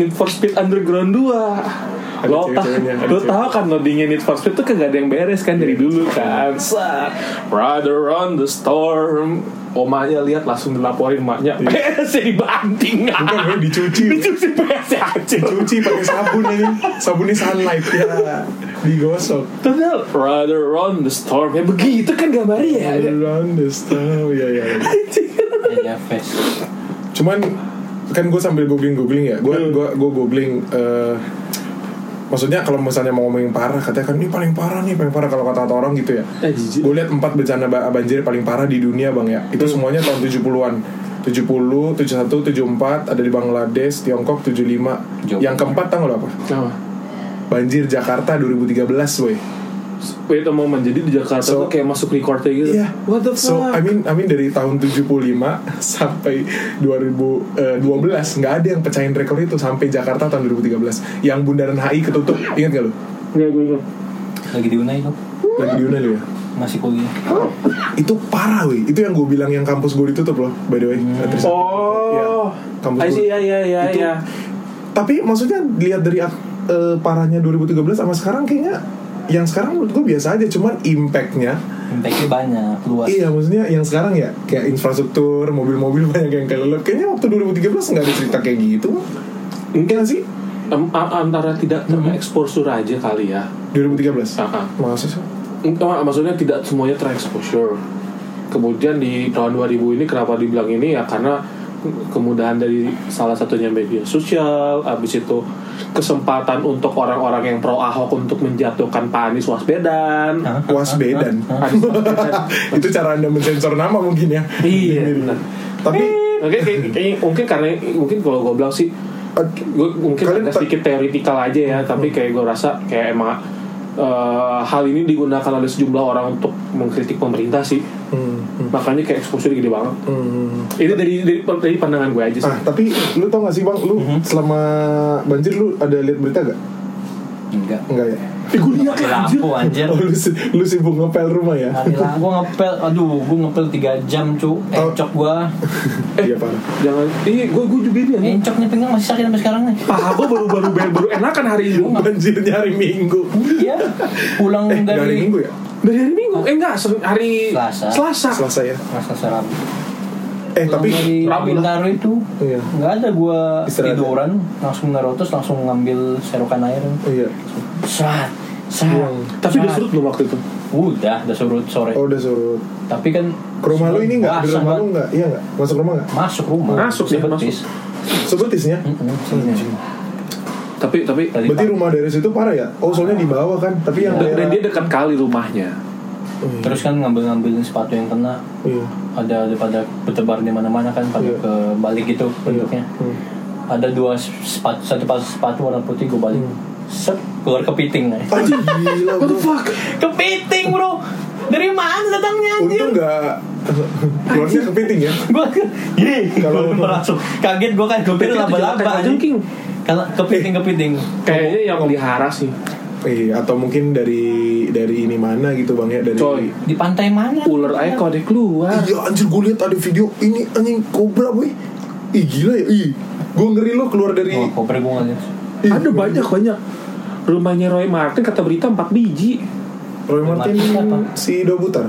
A: Need for Speed Underground 2
D: Ada
A: Lo, ta
D: cewek-ceweknya, ada
A: lo
D: cewek. Iya.
A: tau kan loadingnya Need for Speed tuh kagak ada yang beres kan dari dulu kan Sat. Brother on the storm Omanya lihat langsung dilaporin maknya PS dibanting
D: Iya. bukan gue dicuci
A: Dicuci PS aja
D: dicuci pakai sabun ini sabunnya sunlight ya digosok
A: Padahal Brother on the storm Ya begitu kan gambarnya ya
D: around the star ya ya ya.
B: Ya face.
D: cuman kan gue sambil googling googling ya gue gue gue googling eh, maksudnya kalau misalnya mau ngomongin parah katanya kan ini paling parah nih paling parah kalau kata kata orang gitu ya
A: Eh, jijik.
D: gue lihat empat bencana ba- banjir paling parah di dunia bang ya itu semuanya tahun 70-an 70, 71, 74 ada di Bangladesh, Tiongkok 75.
B: Jauh.
D: Yang keempat tanggal apa?
A: Nah,
D: Banjir Jakarta 2013, woi.
A: Wait a moment Jadi di Jakarta
D: So-
A: tuh kayak masuk recordnya gitu
D: Iya.
A: What the fuck
D: So, I mean, I mean dari tahun 75 sampai 2012 nggak ada yang pecahin rekor itu sampai Jakarta tahun 2013 yang Bundaran HI ketutup. Ingat gak lu?
A: Nggak, gue ingat.
B: lagi di Unai tuh
D: lagi di Unel ya
B: masih kuliah
D: itu parah weh itu yang gue bilang yang kampus gue ditutup loh by the way Atris.
A: Oh,
D: kampus
A: I
D: gue.
A: see, ya, ya, ya,
D: Itu-
A: ya.
D: tapi maksudnya lihat dari eh, parahnya 2013 sama sekarang kayaknya yang sekarang menurut gue biasa aja cuman impactnya
B: impactnya banyak luas
D: iya maksudnya yang sekarang ya kayak infrastruktur mobil-mobil banyak yang kelelep kayaknya waktu 2013 nggak ada cerita kayak gitu mungkin sih Mm-hmm.
A: Em, a- antara tidak tereksposur aja kali ya.
D: 2013
A: Ah, ah.
D: masa sih
A: Mak- maksudnya tidak semuanya tereksposur. Kemudian di tahun 2000 ini kenapa dibilang ini ya karena kemudahan dari salah satunya media sosial, habis itu kesempatan untuk orang-orang yang pro Ahok untuk menjatuhkan Pak Anies Wasbedan.
B: Hah?
D: wasbedan
A: Anies Wasbedan.
D: itu cara anda mensensor nama mungkin ya
A: Iya,
D: Mirip.
A: benar.
D: tapi
A: Mungkin, mungkin- mungkin karena mungkin kalau gue bilang sih
D: eh,
A: gue mungkin agak
D: Kalian tak- Hmm.
A: sedikit teoritikal aja ya tapi kayak gue rasa kayak emang eh, hal ini digunakan oleh sejumlah orang untuk mengkritik pemerintah sih
D: hmm, hmm,
A: makanya kayak exposure gede banget
D: hmm.
A: itu dari dari, dari pandangan gue aja sih
D: ah tapi lu tau gak sih bang lu
B: Hmm.
D: selama banjir lu ada lihat berita gak
B: enggak
D: Enggak ya? Eh gue liat
B: Mati
D: lah, anjir.
B: lampu, anjir.
D: Oh, lu, si- lu sibuk ngepel rumah ya?
B: Mati lah, gue ngepel, aduh, gue ngepel 3 jam cu, Eh,
D: Oh.
B: encok gue,
D: Iya parah
A: jangan iya gue gue juga ini anjing.
B: encoknya pinggang masih sakit sampai sekarang nih.
A: paha gue baru baru baru, baru enakan hari ini
D: Banjirnya hari Minggu
B: Iya, pulang
D: Eh dari, hari
B: dari
D: Minggu ya?
A: dari hari minggu eh enggak se- hari
B: Selasa.
D: Selasa ya?
B: masa seram.
D: Eh
B: Pulang
D: tapi
B: dari
A: Rabu lah.
B: Bintaro itu,
D: Iya.
B: nggak ada gue
D: Istirahat. ya?
B: tiduran, langsung narutus, langsung ngambil serokan air,
D: Oh iya
B: serat, serat,
A: tapi udah surut belum waktu itu
B: udah, udah surut sore.
D: Oh udah surut
B: Tapi kan
D: Ke rumah lu ini gak? Di
B: basah
D: rumah lu
B: banget.
D: gak? Iya gak? Masuk rumah gak?
B: Masuk rumah,
A: Masuk ya,
B: sebetis.
D: Sebetisnya?
B: Mm-mm, sini.
A: tapi tapi
B: Tadi
D: Berarti rumah dari situ parah ya? Oh soalnya di bawah kan? Tapi yang
A: dan
D: daerah
A: dia dekat kali rumahnya
D: Oh, iya.
B: Terus kan ngambil-ngambilin sepatu yang kena
D: Iya
B: ada ada pada bertebar di mana-mana kan pada
D: Iya.
B: ke balik gitu bentuknya.
D: Hmm.
B: Ada dua sepatu satu pas sepatu warna putih gue balik.
D: Hmm.
B: Set keluar kepiting. Nay.
D: Anjir gila
A: what the
D: bro
A: fuck
B: kepiting, Bro. Dari mana datangnya anjir?
D: Untung gak Keluarnya kepiting ya?
B: Gue gini, kalau
D: Kalau-
B: Iya, langsung kaget gue kan gue pikir
A: Kepiting tujuan
B: laba-laba
A: kayak anjing.
B: anjing. Kalau kepiting-kepiting.
A: kayaknya yang melihara sih
D: Iya atau mungkin dari dari ini mana gitu bang ya dari
A: coy
B: Di pantai mana?
A: ular aja kalau dia keluar
D: Iya anjir gue liat ada video ini anjing kobra boy. Ih gila ya. Ih gue ngeri lo keluar dari.
A: Oh.
B: Wah, koper gue ngeliat.
D: Ih,
A: Iya. ada banyak banyak rumahnya Roy Martin kata berita 4 biji
D: Roy Martin
B: Martin siapa?
D: si Dobutar.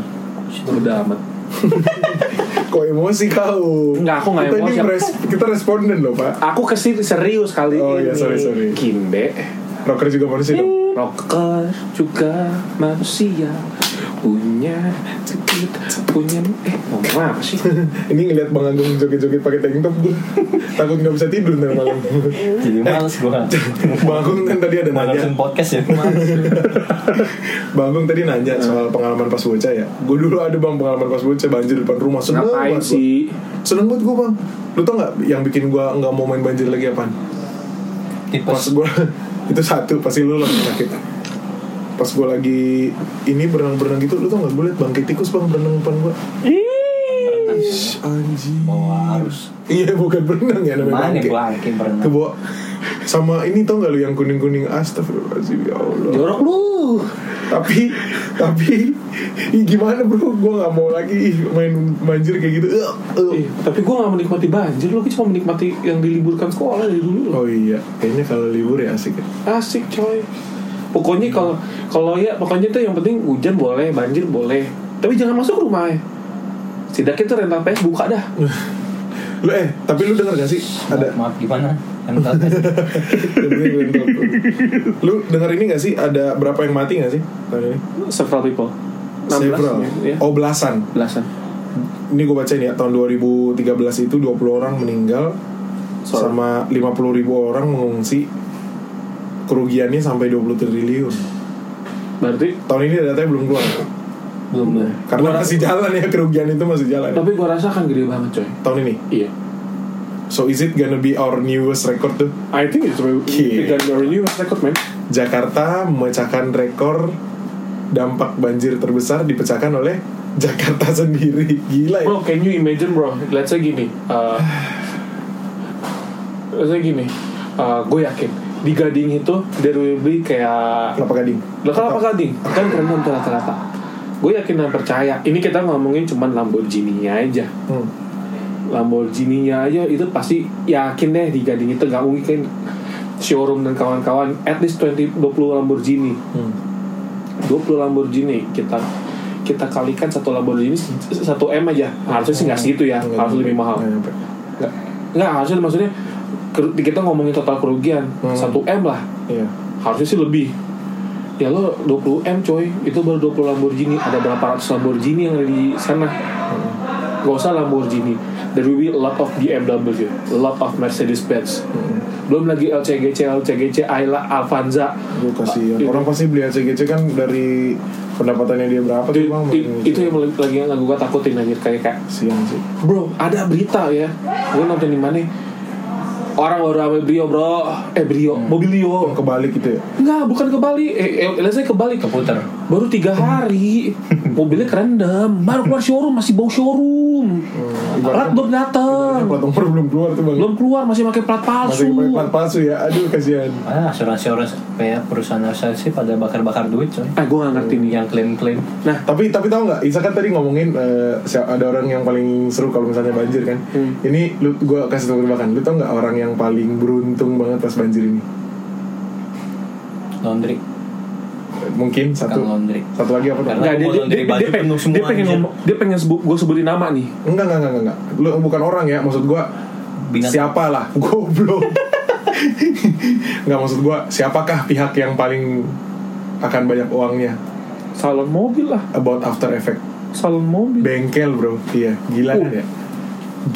A: udah amat
D: Kok emosi kau?
A: Enggak, aku nggak
D: Kita ini
A: emosi.
D: res- kita responden loh pak.
A: aku kesini serius kali
D: Oh,
A: ini
D: iya, sorry, sorry.
A: Kimbe
D: Rocker juga manusia dong.
A: rocker juga manusia punya sedikit punya eh ngomong apa sih
D: ini ngeliat Bang Agung joget-joget pakai tank top gue takut nggak bisa tidur ntar malam.
B: Jadi males gue.
D: Bang Agung kan tadi Iya. ada
B: Mau
D: nanya.
B: langsung podcast ya
D: Bang Agung tadi nanya soal pengalaman pas bocah ya. Gue dulu ada bang pengalaman pas bocah banjir depan rumah. Seneng
A: ngapain
D: banget gua.
A: sih
D: Seneng banget gue bang Lu tau gak yang bikin gue gak mau main banjir lagi apaan? Pas
B: Tipes
D: gue Itu satu pasti lu langsung sakit Pas gue lagi Ini berenang-berenang gitu Lu tau gak gue liat bangke tikus bang berenang depan gue Anjing
B: Bawa arus
D: Iya bukan berenang ya namanya
B: Mana
D: bangke
B: bangke berenang
D: Kebawa sama ini tau gak lu yang kuning-kuning astagfirullahaladzim ya Allah
A: jorok lu
D: tapi tapi ih, gimana bro gue nggak mau lagi main banjir kayak gitu Eh,
A: Eh,
D: eh.
A: tapi gue gak menikmati banjir lo cuma menikmati yang diliburkan sekolah dari dulu
D: oh iya kayaknya kalau libur ya asik ya
A: asik coy pokoknya kalau kalau ya pokoknya tuh yang penting hujan boleh banjir boleh tapi jangan masuk rumah ya setidaknya tuh rental PS buka dah
D: lu eh tapi lu denger gak sih ada
B: Maaf, Maaf gimana Kan Entar
D: lu denger ini gak sih ada berapa yang mati gak sih tahun ini?
A: several people 16
D: Several.
A: ya
D: oh belasan
A: belasan
D: ini gue bacain ya tahun 2013 itu 20 orang meninggal
A: Seorang.
D: sama 50 ribu orang mengungsi kerugiannya sampai 20 triliun
A: berarti
D: tahun ini datanya belum keluar
B: Belum belum
D: karena masih jalan ya kerugian itu masih jalan
A: tapi gue rasa akan gede banget coy
D: tahun ini
A: iya
D: so is it gonna be our newest record tuh
A: I think it's very
D: Yeah.
A: yeah. your new record man
D: Eh. Jakarta memecahkan rekor dampak banjir terbesar dipecahkan oleh Jakarta sendiri gila ya
A: bro can you imagine bro let's say gini uh, let's say gini gue yakin di Gading itu dari WB kayak
D: Kelapa Gading.
A: Lah kalau apa gading? Kan keren untuk rata-rata. Gue yakin dan percaya. Ini kita ngomongin cuman Lamborghini-nya aja.
D: Hmm.
A: Lamborghini-nya aja itu pasti yakin deh di gading itu nggak mungkin kan showroom dan kawan-kawan at least 20 20 Lamborghini.
D: Hmm.
A: 20 Lamborghini kita kita kalikan satu Lamborghini satu M aja. Harusnya sih nggak segitu ya.
D: Nggak Iya.
A: Harus
D: nyampe.
A: lebih mahal.
D: Nggak nyampe.
A: Nggak, nggak harusnya maksudnya keru- kita ngomongin total kerugian
D: Hmm.
A: satu M lah
D: Iya.
A: harusnya sih lebih ya lo 20 m coy itu baru 20 Lamborghini ada berapa ratus Lamborghini yang ada di sana
D: Hmm.
A: gak usah Lamborghini there will be a lot of BMW a lot of Mercedes Benz
D: Hmm.
A: belum lagi LCGC LCGC Ayla Avanza
D: Gue kasihan.
A: Di-
D: ya. Orang pasti beli LCGC kan dari pendapatannya dia berapa tuh
A: di-
D: bang?
A: di- itu yang lagi yang gue takutin anjir kayak kayak
D: Kasihan sih.
A: bro ada berita ya gue nonton di mana orang baru rame Brio bro eh Brio
D: Oh,
A: Mobilio
D: kebalik gitu ya.
A: Enggak, bukan ke Bali. Eh, eh let's say ke Bali.
B: keputer
A: baru tiga hari mobilnya kerendam baru keluar showroom masih bau showroom plat
D: ibaratnya-
A: belum dateng
D: Plat nomor belum keluar tuh bang.
A: belum keluar masih pakai plat palsu
D: Masih pakai plat palsu ya. Aduh kasihan.
B: ah asuransi asuransi kayak perusahaan asuransi pada bakar bakar duit coy
A: ah gue gak ngerti nih
B: yang klaim klaim
A: nah
D: Tapi tapi tahu nggak? Isa kan tadi ngomongin eh, si- ada orang yang paling seru kalau misalnya banjir kan.
B: Hmm.
D: Ini lu gue kasih tau bahkan. Lu tau nggak orang yang paling beruntung banget pas banjir ini?
B: laundry
D: Mungkin satu.
B: Kang laundry
D: Satu lagi apa? tuh?
B: Karena-
A: nggak, dia,
B: Mau
A: dia,
B: laundry
A: dia,
B: baju
A: dia, pengen,
B: penuh semua,
A: dia pengen
B: anjir.
A: ngomong- dia pengen gue sebutin nama nih
D: Enggak, enggak, enggak, enggak. Lu bukan orang ya, maksud gua
B: Binatang.
D: siapa lah, goblok. enggak maksud gua siapakah pihak yang paling akan banyak uangnya
A: salon mobil lah
D: about after effect
A: salon mobil
D: bengkel bro iya gila
A: Uh.
D: kan ya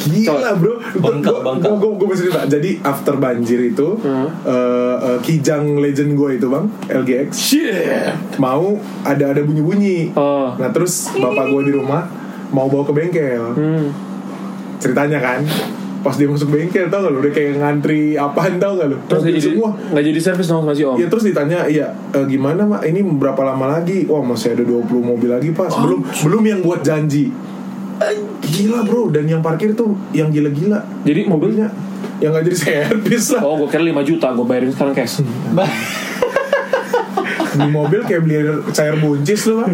D: gila bro
B: Bengkel, bengkel.
D: gue gue mesti cerita jadi after banjir itu
A: Hmm.
D: eh, eh, kijang legend gue itu bang LGX
A: shit
D: mau ada ada bunyi bunyi
A: Oh.
D: nah terus bapak gue di rumah mau bawa ke bengkel
A: hmm.
D: ceritanya kan pas dia masuk bengkel tau gak lu udah kayak ngantri apaan tau gak lu
A: terus nggak jadi
D: Mobil semua
A: nggak jadi servis dong masih om
D: Ya terus ditanya, iya eh, gimana mak? Ini berapa lama lagi? Wah masih ada 20 mobil lagi pak. Belum belum yang buat janji. Eh, Gila bro. Dan yang parkir tuh yang gila-gila.
A: jadi mobilnya
D: Mobilnya yang nggak jadi servis lah.
A: oh gue kira 5 juta gue bayarin sekarang cash
B: Hmm.
D: Di mobil kayak beli cair buncis lu bang.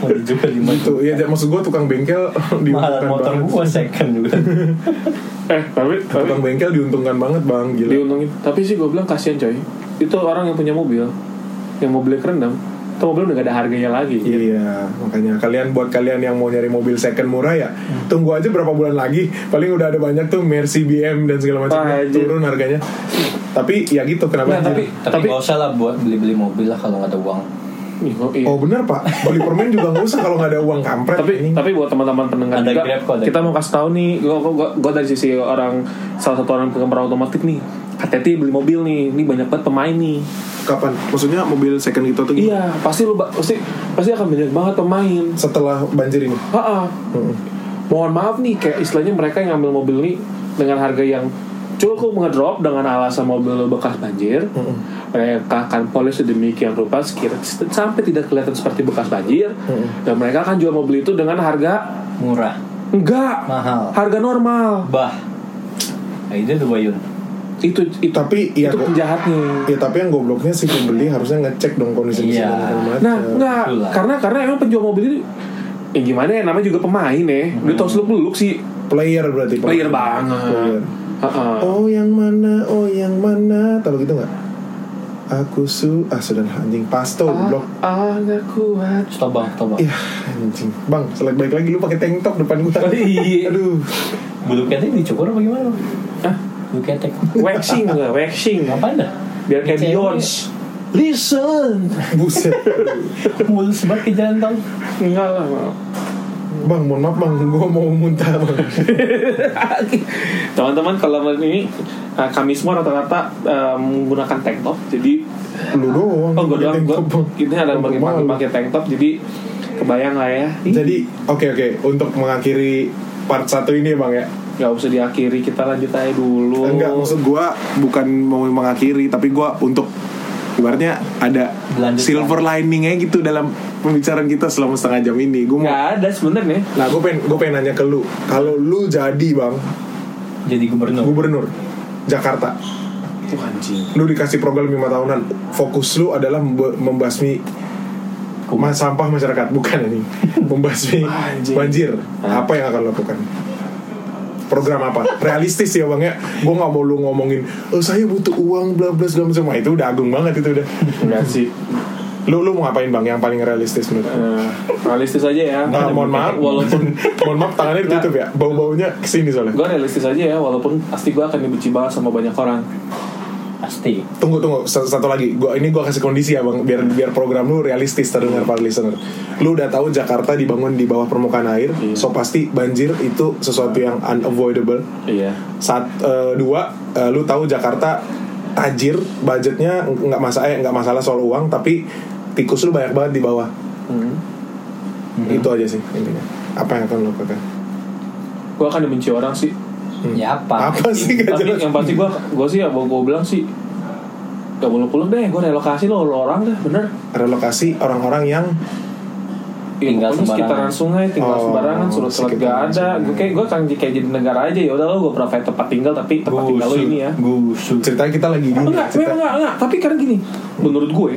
B: mau dijual lima
D: Gitu. Ya j- maksud gua tukang bengkel
B: mahal
D: diuntungkan
B: motor
D: banget.
B: gua second juga
A: eh tapi tapi
D: Tukang bengkel diuntungkan banget bang. Gila.
A: diuntungin tapi sih gue bilang kasihan coy itu orang yang punya mobil yang mobilnya kerendam itu mobil udah gak ada harganya lagi
D: Iya, makanya kalian buat kalian yang mau nyari mobil second murah ya,
A: Hmm.
D: tunggu aja berapa bulan lagi. Paling udah ada banyak tuh Mercy BM dan segala macam
A: Ah, anjir.
D: turun harganya. Tapi ya gitu
A: Nah,
D: kenapa?
A: tapi-
B: tapi nggak usah lah buat beli beli mobil lah kalau nggak ada uang
A: Ih, oh, iya.
D: Oh bener pak, beli permen juga nggak usah kalau nggak ada uang kampret.
A: tapi
D: Ini.
A: tapi buat teman-teman pendengar
B: Ada
A: juga
B: Grab ya? kok, ada
A: kita
B: Grab.
A: mau kasih tahu nih gua, gua, gua- gua dari sisi orang salah satu orang penggemar otomotif nih hati-hati beli mobil nih ini banyak banget pemain nih
D: kapan? Maksudnya mobil second itu tuh
A: iya pasti lu ba- pasti pasti akan banyak banget pemain
D: setelah banjir ini. Hmm,
A: Ha-ha. mohon maaf nih kayak istilahnya mereka yang ngambil mobil ini dengan harga yang cukup ngedrop dengan alasan mobil bekas
D: Hmm.
A: banjir mereka akan polis sedemikian rupa sekira sampai tidak kelihatan seperti bekas banjir dan mereka akan jual mobil itu dengan harga
B: murah
A: enggak
B: mahal
A: harga normal
B: bah nah, itu tuh Bayun
A: itu itu
D: Tapi ya,
A: itu
D: go-
A: penjahatnya
D: ya tapi yang gobloknya si pembeli harusnya ngecek dong kondisi
B: Iya.
D: macam.
A: nah enggak
B: betul lah.
A: karena karena emang penjual mobil ini ya gimana ya namanya juga pemain ya
B: Hmm.
A: dia tau seluk beluk sih
D: player berarti. Pak.
A: player banget
D: Player.
A: Ha-ha.
D: Iya. Oh yang mana, oh yang mana Tahu gitu gak? Aku su Ah sudah lah, anjing Pasto blok
A: ah nggak kuat
B: stop bang stop bang
D: Iya anjing Bang selek balik lagi lu pakai tank top depan gua
A: Iya.
D: Aduh
B: bulu ketek dicukur apa gimana Bang?
A: Hah?
B: bulu ketek
A: waxing lah waxing
B: ngapain dah
A: biar kayak
B: Cewek.
A: Beyonce listen
D: Buset
B: mulus banget ke jalan tol
A: enggak lah
D: Bang mohon maaf bang Gua mau muntah bang
A: teman-teman kalau malam ini eh, kami semua rata-rata eh, menggunakan tank top jadi
D: Lu doang
A: oh gue
D: pakai
A: doang
D: tank
A: gue
D: top, Bang.
A: ini ada
D: Bang,
A: pakai
D: malu.
A: pakai pakai tank top jadi kebayang lah ya Ih,
D: Jadi oke oke Untuk mengakhiri part satu ini bang ya
A: nggak usah diakhiri kita lanjut aja dulu
D: Enggak maksud gua bukan mau mengakhiri Tapi gua untuk Ibaratnya ada
B: Lanjutkan.
D: silver liningnya gitu dalam pembicaraan kita selama setengah jam ini. Gue mau
A: nggak ada sebenarnya
D: Nah, gue pengen gue pengen nanya ke lu, kalau lu jadi bang
B: jadi gubernur
D: gubernur Jakarta,
A: itu anjing
D: lu dikasih program lima tahunan fokus lu adalah membe- membasmi ma- sampah masyarakat bukan ini membasmi
A: Anjing. Ah.
D: banjir apa yang akan lo lakukan program apa realistis ya bang ya gue nggak mau lu ngomongin "Eh, saya butuh uang bla bla bla semua itu udah agung banget itu udah
A: enggak sih
D: lu lu mau ngapain bang yang paling realistis menurut lu?
A: Eh, realistis aja ya
D: Nah, mohon maaf
A: walaupun
D: walaupun mohon maaf tangannya ditutup ya bau baunya kesini soalnya
A: gue realistis aja ya walaupun pasti gue akan dibenci banget sama banyak orang
B: pasti
D: tunggu tunggu satu, satu lagi gua ini gua kasih kondisi ya bang biar biar program lu realistis terdengar para listener lu udah tahu Jakarta dibangun di bawah permukaan air
A: Iya.
D: so pasti banjir itu sesuatu yang unavoidable
A: iya
D: saat dua eh, lu tahu Jakarta tajir budgetnya nggak masalah eh, nggak masalah soal uang tapi tikus lu banyak banget di bawah
A: Hmm. Mm-hmm.
D: itu aja sih intinya apa yang akan lu lakukan Hmm.
A: gue akan dibenci orang sih
B: ya apa
D: apa sih gak
A: tapi
D: jelas
A: yang pasti gue gue sih ya gue bilang sih gak boleh pulang deh gue relokasi lo lo orang deh bener
D: relokasi orang-orang yang
A: Ya,
B: Tinggal sembarangan.
A: pokoknya sekitaran sungai tinggal
D: Oh,
A: sembarangan surat surat gak
D: sekitaran
A: ada
D: sungai.
A: gue kayak gue akan j- kayak jadi negara aja ya udah lo gue provide tempat tinggal tapi tempat tinggal lo ini ya
B: gusur
D: ceritanya kita lagi Oh, gini ya,
A: enggak
D: cerita-
A: memang enggak enggak tapi karena gini menurut gue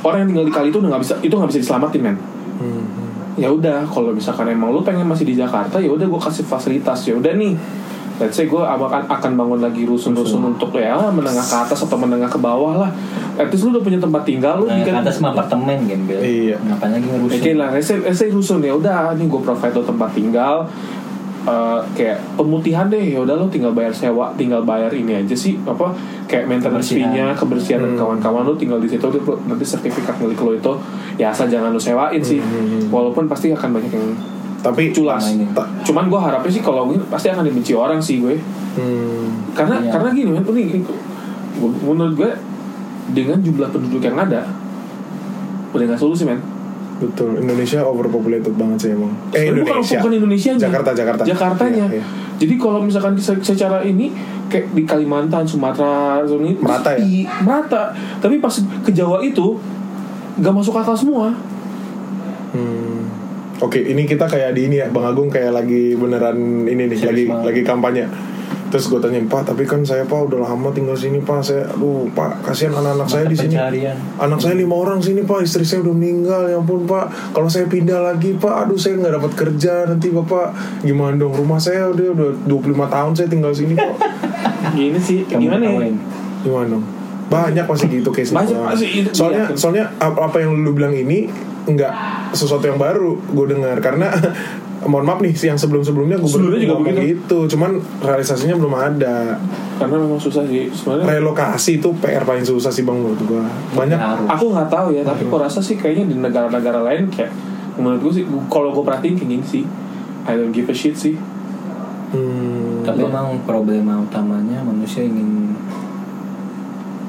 A: orang yang tinggal di kali itu udah nggak bisa itu nggak bisa diselamatin men
D: Hmm.
A: ya udah kalau misalkan emang lu pengen masih di Jakarta ya udah gue kasih fasilitas ya udah nih let's say gue akan akan bangun lagi rusun-rusun untuk ya menengah ke atas atau menengah ke bawah lah at least lu udah punya tempat tinggal lu
B: Nah,
A: bikin-
B: atas mah apartemen gembel
D: Iya.
B: ngapain lagi
A: Oke
B: ngurusin
A: lah, saya rusun ya udah, nih gue provide lo tempat tinggal, Eh, kayak pemutihan deh, ya udah lo tinggal bayar sewa, tinggal bayar ini aja sih apa kayak maintenance
B: Kebersihan. Hmm.
A: fee-nya, kebersihan dan kawan-kawan lo tinggal di situ dia pro- nanti sertifikat milik lo itu ya asal jangan lo sewain
B: Hmm,
A: sih, walaupun pasti akan banyak yang
D: tapi
A: culas.
B: Sama ini.
A: Ta- Cuman gue harapnya sih kalau gue pasti akan dibenci orang sih gue,
D: Hmm.
A: karena
B: Iya.
A: karena gini men, ini- ini- gua- menurut gue dengan jumlah penduduk yang ada udah nggak solusi men.
D: Betul, Indonesia overpopulated banget sih emang.
A: Sebenarnya
D: Eh
A: bukan-
D: Indonesia.
A: bukan Indonesia
D: Jakarta, Jakarta.
A: Jakartanya
D: Iya, iya.
A: jadi kalau misalkan se- secara ini kayak di Kalimantan Sumatera ini
D: Merata ya?
A: i- merata tapi pas ke Jawa itu nggak masuk akal semua
D: Hmm. Oke, ini kita kayak di ini ya, Bang Agung kayak lagi beneran ini nih,
B: Serius
D: lagi
B: banget.
D: lagi kampanye. Terus gue tanya, Pak, tapi kan saya Pak udah lama tinggal sini Pak, saya, aduh Pak, kasihan anak-anak saya di sini.
B: pencarian
D: Anak saya lima orang sini Pak, istri saya udah meninggal, ya ampun Pak. Kalau saya pindah lagi Pak, aduh saya nggak dapat kerja nanti Bapak gimana dong? Rumah saya udah udah 25 tahun saya tinggal sini Pak.
A: ini sih
B: Kamu
A: gimana ya
B: ketawain.
D: Gimana dong? Banyak masih gitu case
A: Banyak masih itu,
D: Soalnya
A: iya.
D: soalnya ap- apa yang lu bilang ini nggak sesuatu yang baru gue dengar karena mohon maaf nih yang sebelum-sebelumnya gue
A: Sebelumnya juga begitu.
D: gitu cuman realisasinya belum ada
A: karena memang susah sih sebenarnya
D: relokasi itu PR paling susah sih bang menurut gue banyak
B: Harus.
A: aku nggak tahu ya tapi aku rasa sih kayaknya di negara-negara lain kayak menurut gue sih kalau gue perhatiin kayak gini sih I don't give a shit sih
D: hmm,
B: Tapi memang problema utamanya manusia ingin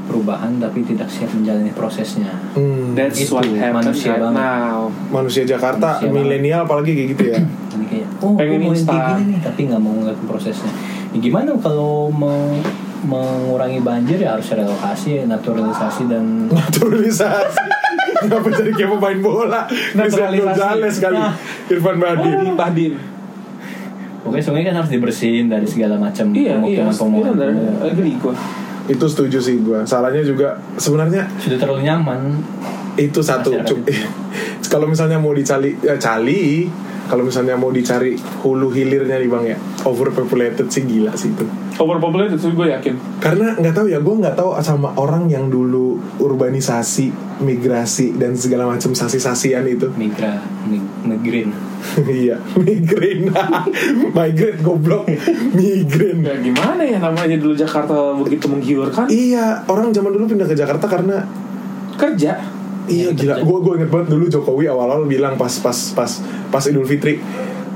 B: perubahan tapi tidak siap menjalani prosesnya.
D: hmm.
A: that's
B: Itu,
A: what happened
B: manusia
A: right
B: banget.
A: now
D: manusia Jakarta
B: Manusia banget.
D: milenial apalagi kayak gitu ya
B: Jadi kayak oh aku mau
A: Pengen
B: yang kayak
A: instan.
B: gini nih tapi nggak mau ngeliatin prosesnya. Ya, gimana kalau mau mengurangi banjir ya harus relokasi, naturalisasi dan
D: naturalisasi Kenapa jadi kayak pemain bola Cristiano
A: Naturalisasi.
D: Gonzales kali
A: Nah.
D: Irfan Bahdim
A: limbah din
B: Oke sungai kan harus dibersihin dari segala macam
A: iya iya iya
B: pemukiman-pemukiman.
A: bener agree gue
D: itu setuju sih gue salahnya juga sebenarnya
B: Sudah terlalu nyaman.
D: itu satu
B: Masyarakat
D: Cuk- kalau misalnya mau dicari ya cali kalau misalnya mau dicari hulu hilirnya nih bang ya overpopulated sih gila sih itu
A: overpopulated sih gue yakin
D: karena nggak tahu ya gue nggak tahu sama orang yang dulu urbanisasi migrasi dan segala macam sasi-sasian itu
B: Migra, mig- migrin.
D: iya migrain migrate goblok migrain
A: Ya gimana ya namanya dulu Jakarta begitu menggiurkan
D: iya orang zaman dulu pindah ke Jakarta karena
A: kerja
D: Iya gila, gue gue inget banget dulu Jokowi awal-awal bilang pas pas pas pas Idul Fitri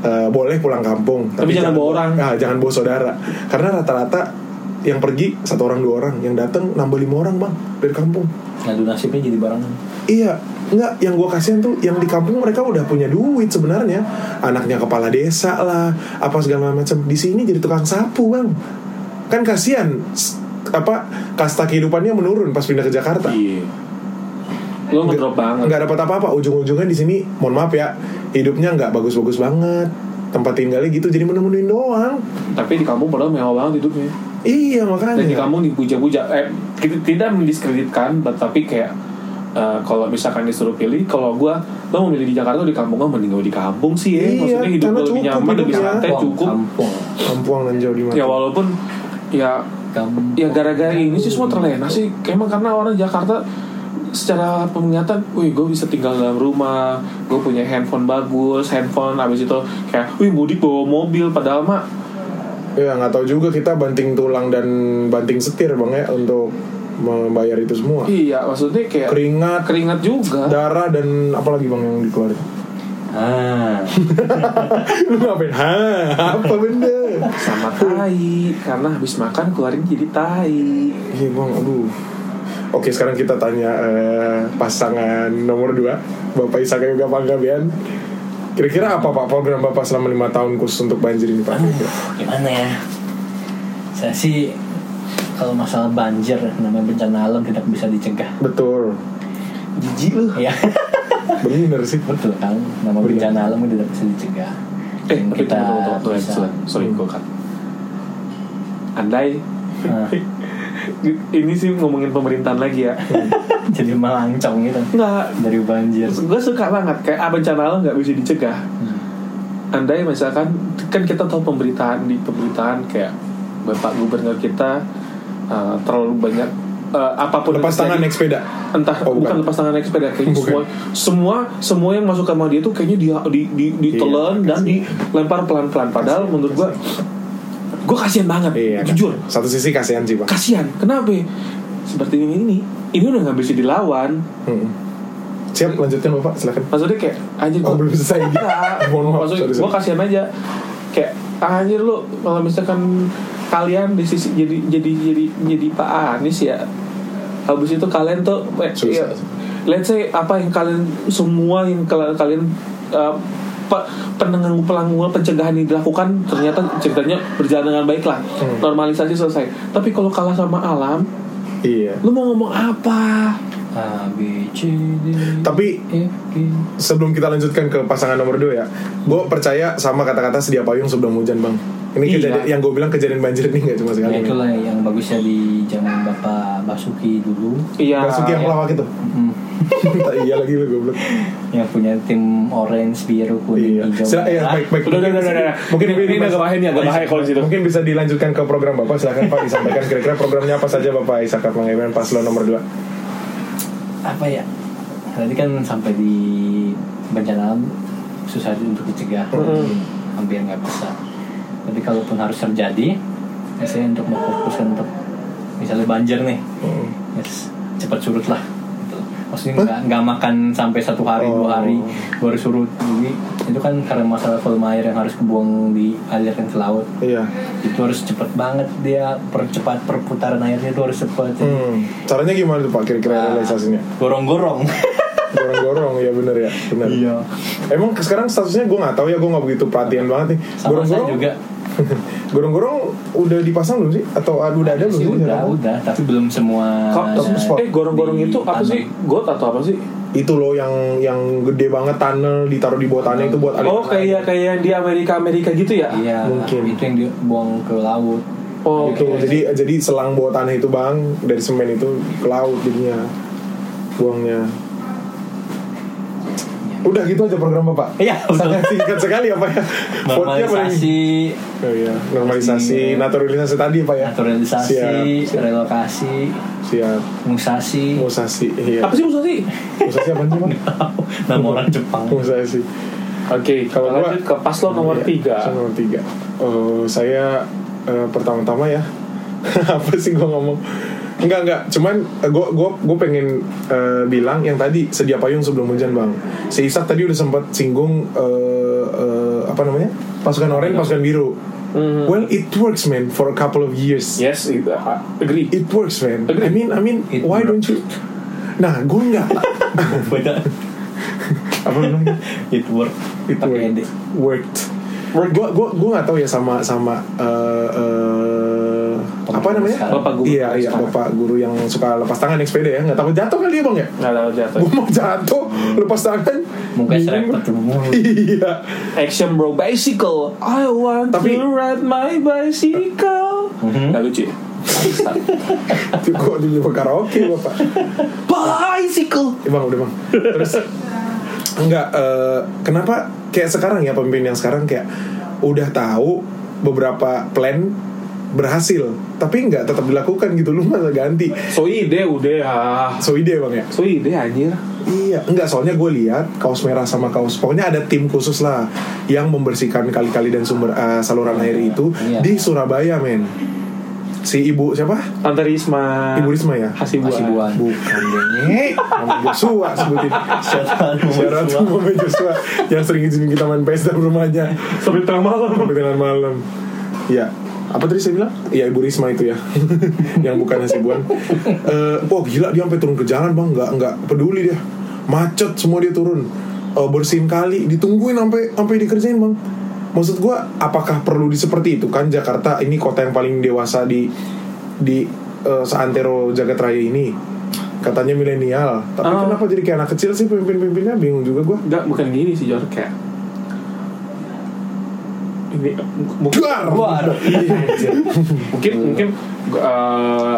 D: "Eh, boleh pulang kampung,
A: Tapi jangan bawa orang."
D: ah, jangan bawa saudara, karena rata-rata yang pergi satu orang dua orang, yang datang nambah lima orang bang dari kampung.
B: Ngadu nasibnya jadi barengan.
D: Iya, nggak yang gue kasihan tuh yang di kampung mereka udah punya duit sebenarnya, anaknya kepala desa lah, apa segala macam. Di sini jadi tukang sapu bang, kan kasihan s- apa kasta kehidupannya menurun pas pindah ke Jakarta
A: Iya. Lo ngedrop banget.
D: nggak dapat apa-apa ujung-ujungnya di sini mohon maaf ya hidupnya nggak bagus-bagus banget tempat tinggalnya gitu jadi menemuin doang
A: Tapi di kampung padahal mewah banget hidupnya. dan
D: Iya
A: di
D: makanya.
A: kampung dipuja-puja eh kita tidak mendiskreditkan but- tapi kayak eh, kalau misalkan disuruh pilih kalau gue lo mau milih di Jakarta atau di kampung gue mending gue di kampung sih ya
D: Iya,
A: maksudnya hidup
D: karena
A: gue lebih
D: cukup
A: nyaman
D: hidup
A: lebih
D: ya.
A: santai
B: Kampung,
A: Iya, cukup
B: Kampung.
D: Kampuang dan jauh di mana?
A: ya walaupun ya
B: Kampung.
A: ya gara-gara ini sih semua terlena sih emang karena orang Jakarta secara penglihatan, wih gue bisa tinggal dalam rumah, gue punya handphone bagus, handphone habis itu kayak, wih mudik bawa mobil, padahal mah
D: Ya nggak tahu juga kita banting tulang dan banting setir bang ya untuk membayar itu semua.
A: iya maksudnya kayak
D: Keringat,
A: keringat juga.
D: darah dan apalagi bang yang dikeluarin.
B: Ah.
D: Lu ngapain? Hah, apa benda?
A: sama tai karena habis makan keluarin jadi tai
D: Iya bang, aduh. Oke sekarang kita tanya eh, pasangan nomor 2 Bapak Isaka Yoga Panggabean Kira-kira apa pak program bapak selama lima tahun khusus untuk banjir ini pak?
B: gimana ya saya sih kalau masalah banjir namanya bencana alam tidak bisa dicegah
D: Betul,
A: jijik lu
B: ya
D: bener sih
B: betul kan nama
D: Benar.
B: bencana alam itu tidak bisa dicegah
A: eh
B: Dan
A: tapi kita
B: bisa- Hmm.
A: sorry gue kan andai
B: Nah,
A: ini sih ngomongin pemerintahan lagi ya
B: jadi melancong gitu
A: nggak
B: dari banjir
A: gue suka banget kayak ah, bencana alam nggak bisa dicegah andai misalkan kan kita tahu pemberitaan di pemberitaan kayak bapak gubernur kita eh, terlalu banyak eh, apapun yang
D: Lepas
A: terjadi,
D: tangan naik sepeda
A: entah
D: Oh,
A: bukan.
D: bukan.
A: lepas tangan naik sepeda kayaknya
D: Bukan.
A: semua semua semua yang masuk kamar dia tuh kayaknya dia di di ditelan
D: Iya,
A: dan dilempar pelan-pelan padahal menurut gua gua kasihan banget
D: Iya, kan?
A: jujur
D: Satu sisi kasihan sih pak
A: kasihan kenapa seperti ini ini ini udah nggak bisa dilawan
D: Hmm. Siap lanjutkan bapak silakan
A: maksudnya kayak anjir
D: Oh
A: gua-
D: belum selesai
A: Enggak.
D: Mohon maaf,
A: maksudnya kan-
D: sorry,
A: gue
D: sorry.
A: kasihan aja kayak "Ah, anjir lu kalau misalkan kalian di sisi jadi jadi jadi jadi Pak Anies ya habis itu kalian tuh eh,
D: Susah.
A: ya, let's say apa yang kalian semua yang kal- kalian eh, pe- penanggung pelanggungan pencegahan yang dilakukan ternyata ceritanya berjalan dengan baik lah
D: Hmm.
A: normalisasi selesai tapi kalau kalah sama alam
D: Iya
A: lu mau ngomong apa
B: Ah, A B C D
D: Tapi
B: E G
D: sebelum kita lanjutkan ke pasangan nomor 2 ya Gue percaya sama kata-kata sedia payung sebelum hujan bang Ini
A: Iya.
D: kejadian, yang gue bilang kejadian banjir ini gak cuma
B: ya
D: sekali
B: itulah yang bagusnya di zaman bapak Basuki dulu
A: iya
D: Basuki yang pelawak itu
B: Mm,
D: Iya lagi lu goblok
B: yang punya tim orange biru kuning
D: Iya.
B: hijau
D: Sila, ya,
B: merah.
D: baik, baik.
A: Udah, udah, udah, udah, udah.
D: Mungkin
A: Ini- Oh, iya. ini agak bahaya gitu. nih, agak bahaya kalau di situ.
D: Mungkin bisa dilanjutkan ke program Bapak. Silakan Pak disampaikan kira-kira programnya apa saja Bapak Isaka Pangeran paslon nomor 2.
B: apa ya tadi kan sampai di bencana alam susah untuk dicegah hampir nggak bisa tapi kalaupun harus terjadi misalnya untuk memfokuskan untuk misalnya banjir nih
D: Hmm.
B: yes, cepat surut lah gitu. maksudnya nggak nggak makan sampai satu hari
D: Oh.
B: dua hari baru surut jadi itu kan karena masalah volume air yang harus kebuang dialirkan ke laut
D: Iya.
B: itu harus cepat banget dia percepat perputaran airnya itu harus cepat
D: Hmm. Caranya gimana tuh Pak
A: Ah.
D: kira-kira realisasinya?
B: gorong-gorong
D: Gorong-gorong ya bener ya, bener.
B: iya
D: Emang ke- sekarang statusnya gue nggak tahu ya, gue nggak begitu perhatian banget nih.
B: sama saya juga
D: Gorong-gorong udah dipasang belum sih? Atau ah, udah ada belum
B: sih
D: sih?
B: udah udah tapi belum semua
A: Kok-
D: spot.
A: eh gorong-gorong itu apa
B: Ditanam.
A: sih got atau apa sih
D: Itu loh yang yang gede banget tunnel ditaruh di bawah tanah itu buat
A: Oh kayak kayak di Amerika Amerika gitu ya?
B: iya
D: Mungkin.
B: itu yang dibuang ke laut
A: Oh,
D: Itu gitu. jadi jadi selang bawah tanah itu bang dari semen itu ke laut jadinya buangnya. Udah gitu aja program bapak.
B: Iya, betul.
D: Sangat singkat sekali apa ya. Vote-nya paling-
B: normalisasi
D: Oh, iya. normalisasi,
B: Iya.
D: naturalisasi tadi pak ya.
B: naturalisasi
D: Siap,
B: relokasi
D: siap.
B: musasi
D: Musasi, iya.
A: Apa sih maksud sih?
D: Musasi apa sih bang?
B: nama orang Jepang
D: Musasi.
A: Oke, kalau
D: Kalau
A: lanjut
D: gua-
A: ke paslon nomor
D: Iya,
A: tiga.
D: paslon Nomor tiga. Eh, saya eh, pertama-tama ya. apa sih gue ngomong? Enggak enggak, cuman eh, gue gue pengen eh, bilang yang tadi sedia payung sebelum hujan bang. Si Isak tadi udah sempat singgung eh, eh, apa namanya pasukan oranye, pasukan biru.
A: Mhm.
D: Well it works man for a couple of years.
A: Yes, itu I agree.
D: It works man.
A: Agree.
D: I mean I mean
B: It
D: why
B: works.
D: don't you? Nah gue enggak.
B: beda
D: apa namanya?
B: it work
D: It
B: pakai ed
D: worked. Worked. Gua gua gua nggak tahu ya sama sama eh, eh, apa namanya?
B: sekarang.
A: Bapak guru.
D: Iya iya bapak guru yang suka lepas tangan naik sepeda ya nggak takut jatuh kali ya bang ya?
A: Nggak tahu Nah, jatuh.
D: Gue mau jatuh lepas tangan.
B: mukanya
D: Bingung.
B: serempet mulu
D: Iya.
A: Action bro, bicycle. I want
D: Tapi-
A: to ride my bicycle. Gak lucu ya?
D: Itu kok di lima karaoke bapak
A: Bicycle
D: Eh, bang udah bang Terus Enggak eh, Kenapa Kayak sekarang ya pemimpin yang sekarang kayak Udah tahu Beberapa plan Berhasil Tapi nggak tetap dilakukan gitu Lu malah ganti
A: So ide udah ya
D: So ide bang ya
A: So ide anjir
D: Iya, enggak soalnya gue lihat kaos merah sama kaos pokoknya ada tim khusus lah yang membersihkan kali-kali dan sumber eh, saluran air itu
B: Iya.
D: di Surabaya men. Si ibu siapa?
A: Tante Risma
D: Ibu Risma ya?
A: Hasibuan,
B: Hasibuan.
D: Bukan Denny, Mama Joshua sebutin.
B: Setan
D: Shout out to Mama Joshua yang sering izinin kita main PS dalam rumahnya
A: Sampai tengah malam
D: sampai tengah malam. Iya. Apa tadi saya bilang? Iya Ibu Risma itu ya Yang bukan Hasibuan Eh, Wah gila dia sampai turun ke jalan bang Nggak, nggak peduli dia Macet semua dia turun Eh, Bersihin kali Ditungguin sampai sampai dikerjain bang Maksud gua Apakah perlu di seperti itu kan Jakarta ini kota yang paling dewasa di Di eh, seantero jagat raya ini Katanya milenial Tapi
A: Oh.
D: kenapa jadi kayak anak kecil sih Pemimpin-pemimpinnya bingung juga gua
A: Enggak bukan gini sih Jor Kayak Ini Mungkin
D: Duar!
B: Waduh.
A: Mungkin,
D: Hmm.
A: mungkin eh,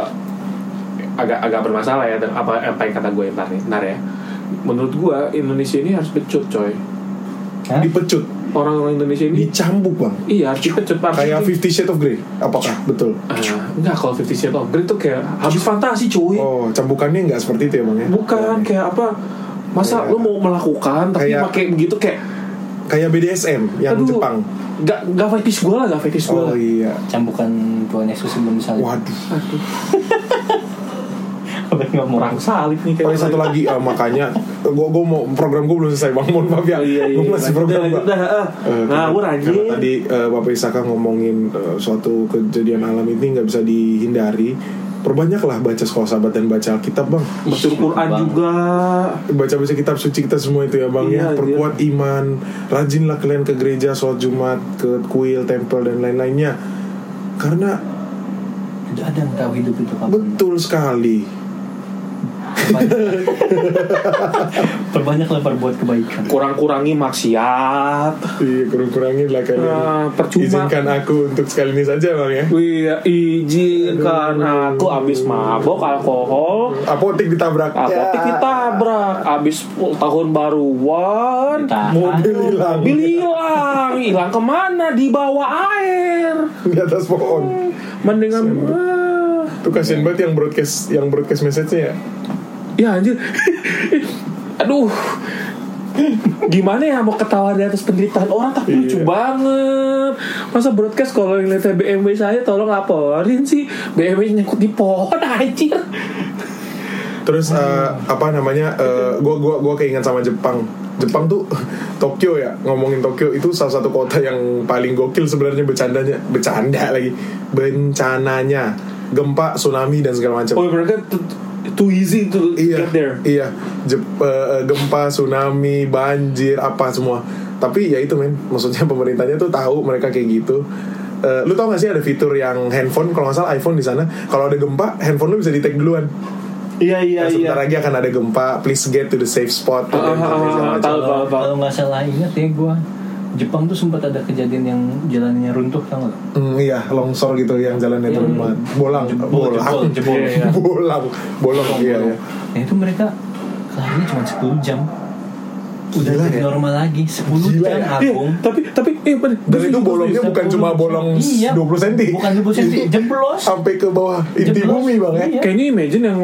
A: agak agak bermasalah ya dan apa apa yang kata gue ntar nih ntar ya menurut gue Indonesia ini harus pecut coy
B: Hah?
D: Dipecut
A: orang-orang Indonesia ini
D: Dicambuk bang
A: iya harus dipecut Harus
D: Kayak
A: di-
D: Fifty Shades of Grey Apakah betul?
A: Ah, enggak kalau Fifty Shades of Grey tuh kayak habis fantasi cuy
D: Oh, cambukannya nggak seperti itu ya bang ya?
A: bukan kayak apa masa
D: Kayak-
A: lu mau melakukan tapi
D: Iya. kayak-
A: pakai begitu kayak
D: Kayak BDSM yang
A: aduh,
D: Jepang.
A: gak gak fetish gue lah gak fetish gue
D: Oh
A: lah
D: iya.
B: Cambukan Tuhan Yesus sebelum salib.
D: Waduh.
B: Apa yang ngomong?
A: orang salib nih
D: Oh,
A: kayak gitu.
D: ini satu lagi eh, makanya gue gue mau program gue belum selesai bang mohon maaf
A: Oh,
D: ya
A: iya, iya,
D: Gua
A: iya.
D: masih
A: Lanjut
D: program
A: dah, lanjut
D: Pak.
A: dah, ah.
D: Eh,
A: Ngawur,
D: karena-
A: anjing.
D: karena tadi eh, bapak Isaka ngomongin eh, suatu kejadian alam ini nggak bisa dihindari perbanyaklah baca sekolah sahabat dan baca kitab bang
A: baca Quran
B: Bang.
A: juga
D: baca baca kitab suci kita semua itu ya bang
A: Iya,
D: ya
A: iya.
D: perkuat iman rajinlah kalian ke gereja sholat jumat ke kuil tempel dan lain-lainnya karena
B: Tidak ada yang tahu hidup itu kapan.
D: betul sekali
B: Perbanyak- Perbanyaklah perbuat kebaikan.
A: kurang-kurangi maksiat
D: Iya kurang-kurangin lah kalian
A: Ah, percuma.
D: Izinkan aku untuk sekali ini saja bang ya
A: Iya, izinkan aku abis mabok alkohol
D: Apotik ditabrak Ya.
A: Apotik ditabrak Abis tahun baruan
B: Ditahan.
D: Mobil hilang
A: Mobil hilang Hilang kemana? Di bawah air
D: Di atas pohon
A: Mendingan Ah.
D: Tuh kasihan banget yang broadcast Yang broadcast message-nya ya
A: Ya anjir Aduh Gimana ya mau ketawa di atas penderitaan orang Tapi
D: Iya.
A: lucu banget Masa broadcast kalau ngeliatnya BMW saya Tolong laporin sih BMW nyangkut di pohon anjir
D: Terus eh, apa namanya eh, gua gua gua keinget sama Jepang. Jepang tuh Tokyo ya ngomongin Tokyo itu salah satu kota yang paling gokil sebenarnya bercandanya bercanda lagi bencananya gempa tsunami dan segala macam.
A: Oh mereka too, too easy to
D: iya,
A: get there
D: Iya, Jep- eh, eh, gempa, tsunami, banjir, apa semua. Tapi ya itu men, maksudnya pemerintahnya tuh tahu mereka kayak gitu. Eh, lu tau gak sih ada fitur yang handphone kalau nggak salah iPhone di sana kalau ada gempa handphone lu bisa di take duluan.
A: Iya iya iya
D: Nah, sebentar lagi akan ada gempa, please get to the safe spot.
A: Ah, ah, ah,
D: segala macam.
A: tahu.
B: Kalau kalau nggak salah ingat ya gue Jepang tuh sempat ada kejadian yang jalannya runtuh tau nggak?
D: Hmm, iya, longsor gitu yang jalannya
B: Iya.
D: turun
A: Hmm.
D: banget. Bolang,
B: Jebol,
D: bolang,
B: jebol, jebol.
A: Iya, iya.
D: bolang, bolong. Iya, iya.
B: Nah itu mereka kelahirannya cuma 10 jam. Udah
D: Gila
B: jadi
D: ya.
B: normal lagi 10 jam
D: Gila ya.
A: Iya,
B: agung.
A: tapi tapi eh, bener.
D: Dan itu bolongnya bukan cuma
B: 10.
D: bolong
B: Iya.
D: 20 cm.
B: Bukan 20 cm, jeblos.
D: Sampai ke bawah inti
B: Jeblos.
D: bumi, Bang ya.
B: Iya.
A: kayaknya imagine yang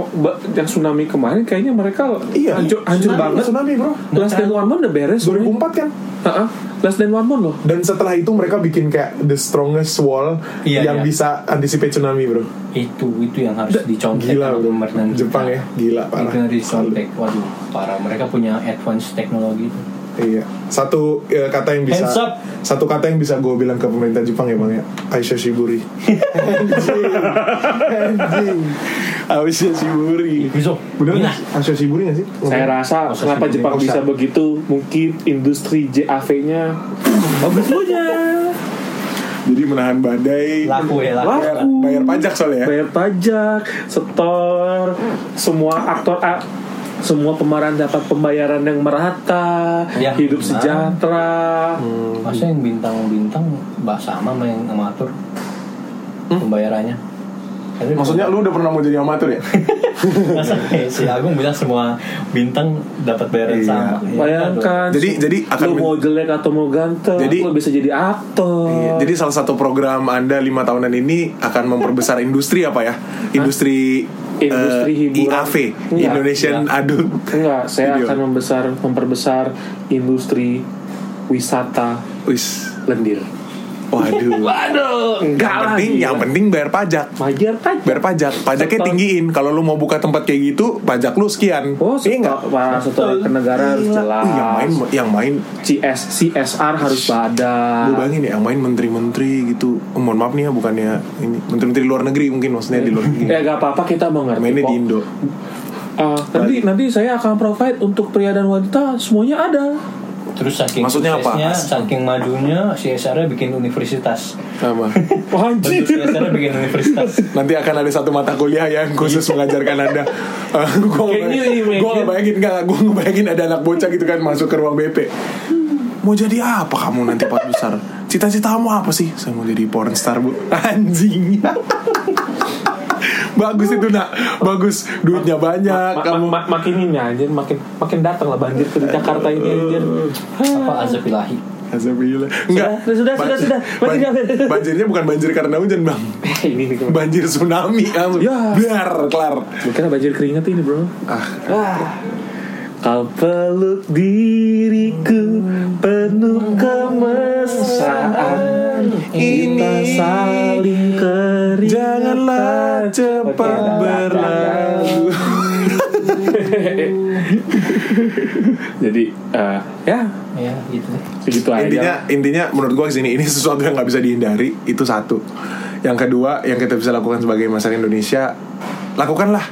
A: yang tsunami kemarin kayaknya mereka
D: Iya,
A: hancur, hancur
D: tsunami,
A: banget.
D: Tsunami, Bro.
A: Last than one month udah beres.
D: 2004 kan?
A: Heeh. Last than one month loh.
D: Dan setelah itu mereka bikin kayak the strongest wall
B: Iya, iya.
D: yang bisa anticipate tsunami, Bro.
B: Itu itu yang harus dicontek
D: Gila,
B: sama
D: Bro.
B: pemerintahan kita.
D: Jepang ya, gila parah.
B: Itu yang harus dicontek. Waduh, parah. Mereka punya advance teknologi. itu.
D: Iya. Satu eh, kata yang bisa
B: Hands up.
D: satu kata yang bisa gue bilang ke pemerintah Jepang ya Bang ya. Aisha Shiburi. Anjing. Anjing. Aisha Shiburi.
B: Bisa. Nah.
D: Bener nggak sih? Aisha Shiburi gak sih?
A: Saya rasa
B: Masa
A: kenapa
B: sih,
A: Jepang
D: masa.
A: bisa begitu mungkin industri JAV-nya bagus punya.
D: Jadi menahan badai.
B: Laku ya, laku.
D: Bayar, bayar pajak soalnya ya.
A: Bayar pajak, setor, semua aktor A semua pemeran dapat pembayaran yang merata,
B: Ya,
A: hidup
D: Ah.
B: benar.
A: sejahtera.
D: Hmm.
B: Masa yang bintang-bintang bahas sama sama yang amatur? pembayarannya. Tapi
D: Hmm? Maksudnya lu udah pernah mau jadi amatir ya?
B: Masa kayak si Agung bilang semua bintang dapat bayaran
D: Iya.
B: sama. Ya,
A: Bayangkan.
D: Jadi jadi akan
A: lu
D: men-
A: mau jelek atau mau ganteng,
D: Jadi-
A: lu bisa jadi aktor.
D: Iya, Jadi salah satu program Anda lima tahunan ini akan memperbesar industri apa ya? Industri
A: Industri
D: eh,
A: hiburan.
D: IAV,
A: Iya,
D: Indonesian Adult.
A: Enggak, saya
D: Video.
A: akan membesar memperbesar industri wisata
D: Wis.
A: lendir.
D: Waduh.
A: Waduh, Iya. enggak
D: yang
A: lah,
D: penting
A: gila.
D: yang penting bayar pajak.
A: Wajar pajak.
D: Bayar pajak. Pajaknya
A: Setor.
D: tinggiin. Kalau lu mau buka tempat kayak gitu, pajak lu sekian.
A: Oh,
D: Iya nggak?
A: setor, wah, setor ke negara harus
D: Gila.
A: jelas.
D: Uh, yang main yang main
A: CS, CSR harus
D: Gue
A: ada.
D: bayangin ya, yang main menteri-menteri gitu. Oh, mohon maaf nih ya, bukannya ini menteri-menteri luar negeri mungkin maksudnya di luar negeri.
A: Ya gak apa-apa kita mengerti
D: Mainnya
A: kok.
D: di Indo.
A: Ah, nanti nanti saya akan provide untuk pria dan wanita semuanya ada.
B: Terus saking
D: Maksudnya apa?
B: suksesnya, saking majunya CSR-nya bikin universitas.
D: Sama.
A: Wajib.
B: Bentuk CSR-nya bikin universitas.
D: Nanti akan ada satu mata kuliah yang khusus
A: Gitu.
D: mengajarkan anda. Eh, Gua
A: Can you imagine?
D: gue gue bayangin nggak, gue ngebayangin ada anak bocah gitu kan masuk ke ruang BP. Mau jadi apa kamu nanti pas besar? Cita-cita kamu apa sih? Saya mau jadi pornstar bu. Anjing. bagus itu nak, bagus duitnya banyak.
A: Ma- ma-
D: Ah, kamu
A: ma- makin ini anjir, makin makin datang lah banjir ke Jakarta ini anjir.
B: apa Azabilahi.
D: Alhamdulillah. Enggak.
A: Sudah, sudah,
D: Banjir-
A: sudah, sudah. Banjir,
D: ban-
A: banjir.
D: banjirnya bukan banjir karena hujan bang.
A: Eh, ini nih. Bro.
D: Banjir tsunami langsung.
A: Ya.
D: Biar kelar.
A: Gua kira banjir keringat ini, Bro.
D: Ah,
A: Kau peluk diriku penuh kemesraan
D: Ini
A: Kita saling keringat
D: Janganlah cepat berlalu.
A: Jadi eh, ya
B: Ya, gitu deh.
A: segitu aja
D: intinya intinya menurut gua kesini ini sesuatu yang nggak bisa dihindari itu satu. Yang kedua yang kita bisa lakukan sebagai masyarakat Indonesia lakukanlah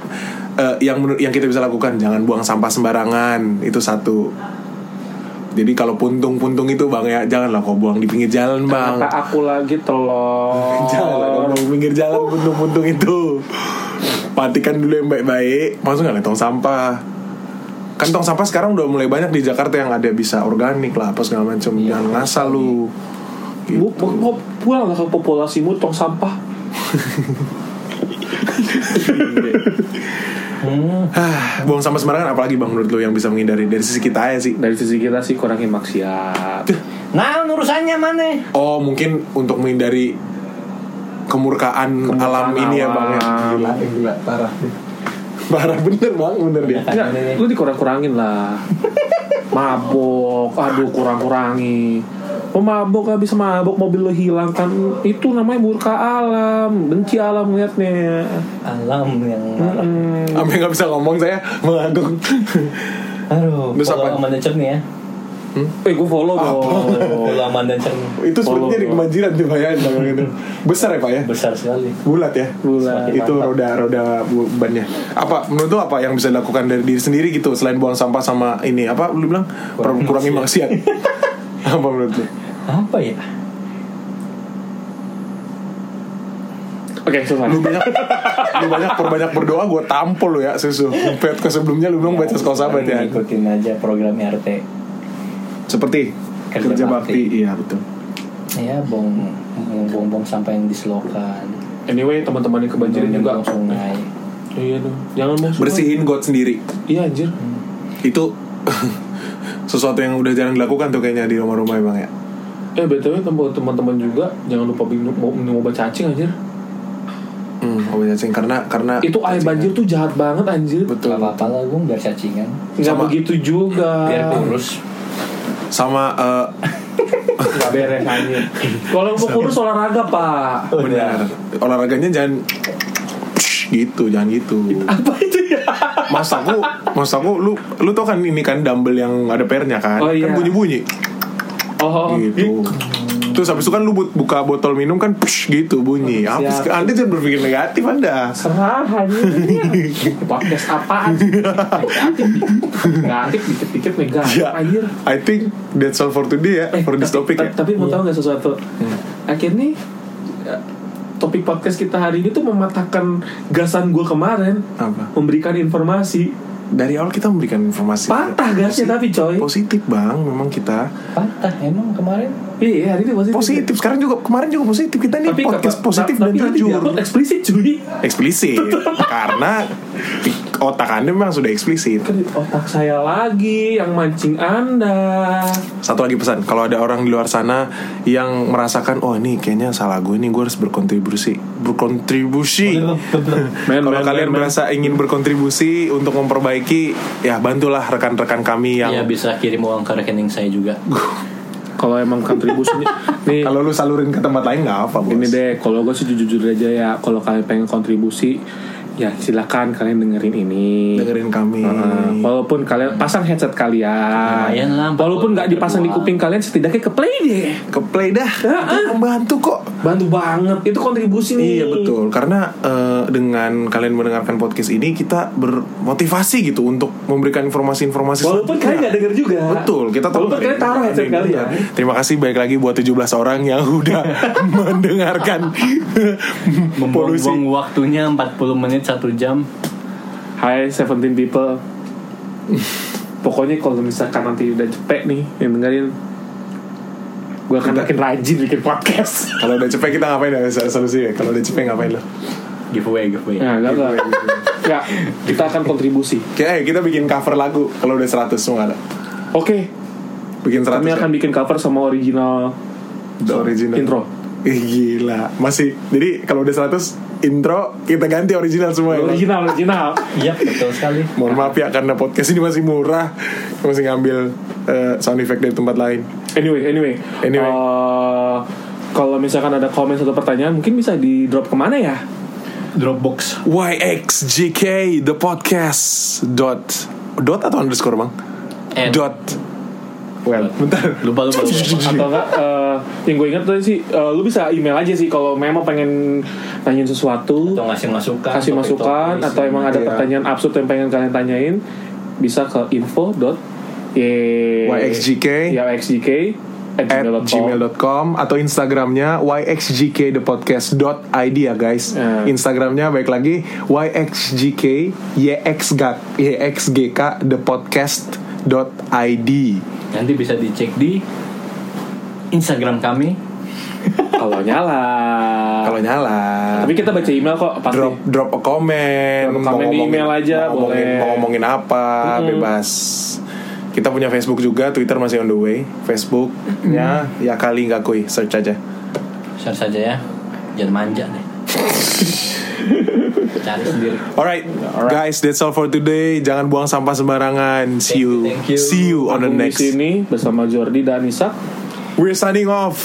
D: Eh, yang menurut yang kita bisa lakukan jangan buang sampah sembarangan itu satu. Jadi kalau puntung-puntung itu bang ya janganlah kau buang di pinggir jalan bang.
A: Kata aku lagi telur
D: Janganlah kau buang di pinggir jalan puntung-puntung itu. Perhatikan dulu yang baik-baik. Masuk nggak tong sampah? Kan tong sampah sekarang udah mulai banyak di Jakarta yang ada bisa organik lah apa segala macam. jangan ngasal lu.
A: Bu, bu, bu, pulang lah ke populasimu tong sampah
B: Hmm,
D: Hah, Ah, buang sampah sembarangan apalagi bang menurut lu yang bisa menghindari dari sisi kita aja sih.
A: Dari sisi kita sih kurangin maksiat
B: Nah, urusannya mana?
D: Oh mungkin untuk menghindari kemurkaan, alam ini ya bang ya.
A: alam.
D: Gila,
C: Gila, parah
D: Parah bener bang, bener dia.
A: Enggak, lu dikurang-kurangin lah Mabok, aduh kurang-kurangi Pemabok habis mabok mobil lu hilang kan Itu namanya murka alam Benci alam liatnya
B: Alam yang marah.
D: Sampai nggak bisa ngomong saya mengagum.
B: Aduh,
D: Terus
B: follow
D: apa?
B: Amanda Cerny ya.
A: Eh gue follow dong
B: Follow Amanda Cerny.
D: itu sepertinya di kebanjiran tuh Pak, ya, bang, gitu. Besar ya pak ya?
B: Besar sekali.
D: Bulat ya?
A: Bulat.
D: Itu roda-roda bu- bannya Apa menurut lu apa yang bisa dilakukan dari diri sendiri gitu Selain buang sampah sama ini Apa lu bilang? Per-
B: Kurangin
D: Kurangi maksiat Apa menurut lu?
B: Apa ya?
A: Oke selesai
D: Lu banyak Lu banyak perbanyak berdoa Gue tampol lu ya Susu Petko sebelumnya lu bilang baca sekolah sahabat ya
B: Ikutin aja program RT.
D: Seperti
B: Kerja
D: Kerja bakti
B: bakti.
D: Iya betul
B: Ya, bong bong bong sampai yang dislokan.
A: Anyway teman-teman yang kebanjiran juga
B: Bong-bong sungai.
A: Iya dong Jangan mau
D: Bersihin God sendiri
A: Iya anjir
D: Itu Sesuatu yang udah jarang dilakukan tuh kayaknya Di rumah-rumah emang ya
A: Eh btw tem- teman-teman juga Jangan lupa minum, mau- minum obat cacing anjir
D: Hmm, obat cacing karena karena
A: Itu air banjir tuh jahat banget anjir
B: Gak
D: betul
B: apa-apa lah, gue biar cacingan. Ah,
A: Gak
D: Sama-
A: begitu juga
B: Biar kurus.
D: sama eh,
A: Gak beres anjir Kalau mau kurus olahraga pak
D: Oh,
A: iya.
D: Benar. Olahraganya jangan gitu, jangan gitu.
A: Apa itu ya?
D: Mas aku, mas aku, lu, lu tau kan ini kan dumbbell yang ada pernya kan,
A: Oh, iya.
D: kan bunyi bunyi,
A: Oh,
D: gitu. Terus habis itu kan lu bu- buka botol minum kan psh, gitu bunyi.
A: Oh,
D: Apa sih? Anda jangan berpikir negatif Anda.
A: serahan podcast apaan sih? negatif negatif dikit-dikit negatif
D: Ya,
A: anjir Eh,
D: I think that's all for today ya, for this
A: tapi,
D: topic ya. Hmm.
A: ta- tapi mau tahu nggak sesuatu akhirnya eh, topik podcast kita hari ini tuh mematahkan gasan gue kemarin
D: Apa?
A: memberikan informasi
D: dari awal kita memberikan informasi
A: Patah gasnya tapi coy
D: positif bang memang kita
B: Patah emang kemarin
A: Iya hari ini positif
D: positif sekarang juga kemarin juga positif kita nih
A: kata-
D: podcast positif
A: tapi
D: dan
A: tadi
D: jujur
A: diupload eksplisit cuy
D: eksplisit karena pik- otak anda memang sudah eksplisit
A: Kan di otak saya lagi yang mancing anda
D: satu lagi pesan kalau ada orang di luar sana yang merasakan oh ini kayaknya salah gue nih gue harus berkontribusi berkontribusi
B: Belum, belum.
A: Men,
D: kalau
A: men,
D: kalian
A: men, men.
D: merasa ingin berkontribusi untuk memperbaiki ya bantulah rekan-rekan kami yang
B: Iya bisa kirim uang ke rekening saya juga
A: Kalau emang kontribusinya Nih
D: kalau lu salurin ke tempat lain nggak apa bos
A: Ini deh, kalau gue sih jujur-jujur aja ya, kalau kalian pengen kontribusi, ya silakan kalian dengerin ini.
D: dengerin kami
A: Heeh. walaupun kalian pasang headset
D: Nah,
A: kalian,
B: Lumayan lah, empat
A: walaupun
B: puluh
A: nggak dipasang di
B: ribuan.
A: kuping kalian, setidaknya ke play deh.
D: ke play dah Itu membantu kok
A: Bantu banget, itu kontribusi nih.
D: Iya betul karena eh, dengan kalian mendengarkan podcast ini kita bermotivasi gitu untuk memberikan informasi-informasi
A: Walaupun kalian nggak denger juga.
D: Betul, kita tahu
A: Walaupun
D: dari-
A: kalian taruh headset
D: dari-
A: kalian.
D: ya. Terima kasih baik lagi buat 17 orang yang udah mendengarkan polusi.
B: Membuang waktunya 40 menit 1 jam
A: Hai 17 people. Pokoknya kalau misalkan nanti udah cepet nih yang dengerin, gue akan makin rajin bikin podcast.
D: Kalau udah cepet kita ngapain ya solusi ya? Kalau udah cepet ngapain lo?
B: giveaway giveaway
A: Nah, gak, gak. Gak, kita akan kontribusi.
D: Oke, ayo kita bikin cover lagu kalau udah 100 semua ada.
A: Oke,
D: Bikin 100.
A: kami
D: ya?
A: akan bikin cover sama original
D: The original.
A: intro.
D: Ih, gila. Masih. Jadi kalau udah 100 intro kita ganti original semua ya.
A: Original, original.
B: Iya betul sekali
D: Mohon maaf ya karena podcast ini masih murah. Kita Masih ngambil eh, sound effect dari tempat lain.
A: Anyway, anyway.
D: Anyway.
A: Eh, kalau misalkan ada komen atau pertanyaan, mungkin bisa di drop kemana ya?
B: Dropbox
D: YXJK the podcast dot dot atau underscore bang
B: Eh,
D: dot well bentar
B: Lupa lupa, lupa.
A: Atau enggak? eh, yang gue ingat tadi sih, eh, lu bisa email aja sih kalau memang pengen nanyain sesuatu,
B: Atau ngasih masukan topik-topik
A: kasih masukan,
B: isi.
A: atau emang ada
D: Iya.
A: pertanyaan absurd yang pengen kalian tanyain, bisa ke info dot ye-
D: YXJK.
A: ya YXJK at
D: at
A: gmail.com.
D: gmail.com atau instagramnya YXJK the podcast dot id ya guys
A: Eh.
D: instagramnya baik lagi YXJK YXG YXGK the podcast dot id
B: Nanti bisa dicek di Instagram kami
A: kalau nyala
D: kalau nyala
A: tapi kita baca email kok pasti
D: drop drop a comment,
A: Drop a
D: mau
A: comment di
D: ngomongin-
A: email aja,
D: mau ngomongin,
A: boleh.
D: mau ngomongin apa bebas kita punya Facebook juga Twitter masih on the way Facebooknya ya kali nggak kuy search aja
B: Share saja ya Jangan manja deh Cari sendiri
D: alright, guys that's all for today jangan buang sampah sembarangan
B: Thank
D: see
B: you,
D: you
B: thank you.
D: see you on the
A: Aku
D: next
A: di sini bersama Jordi dan Isak
D: we're signing off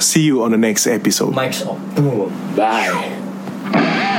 D: see you on the next episode
B: Mike's off Boom
A: bye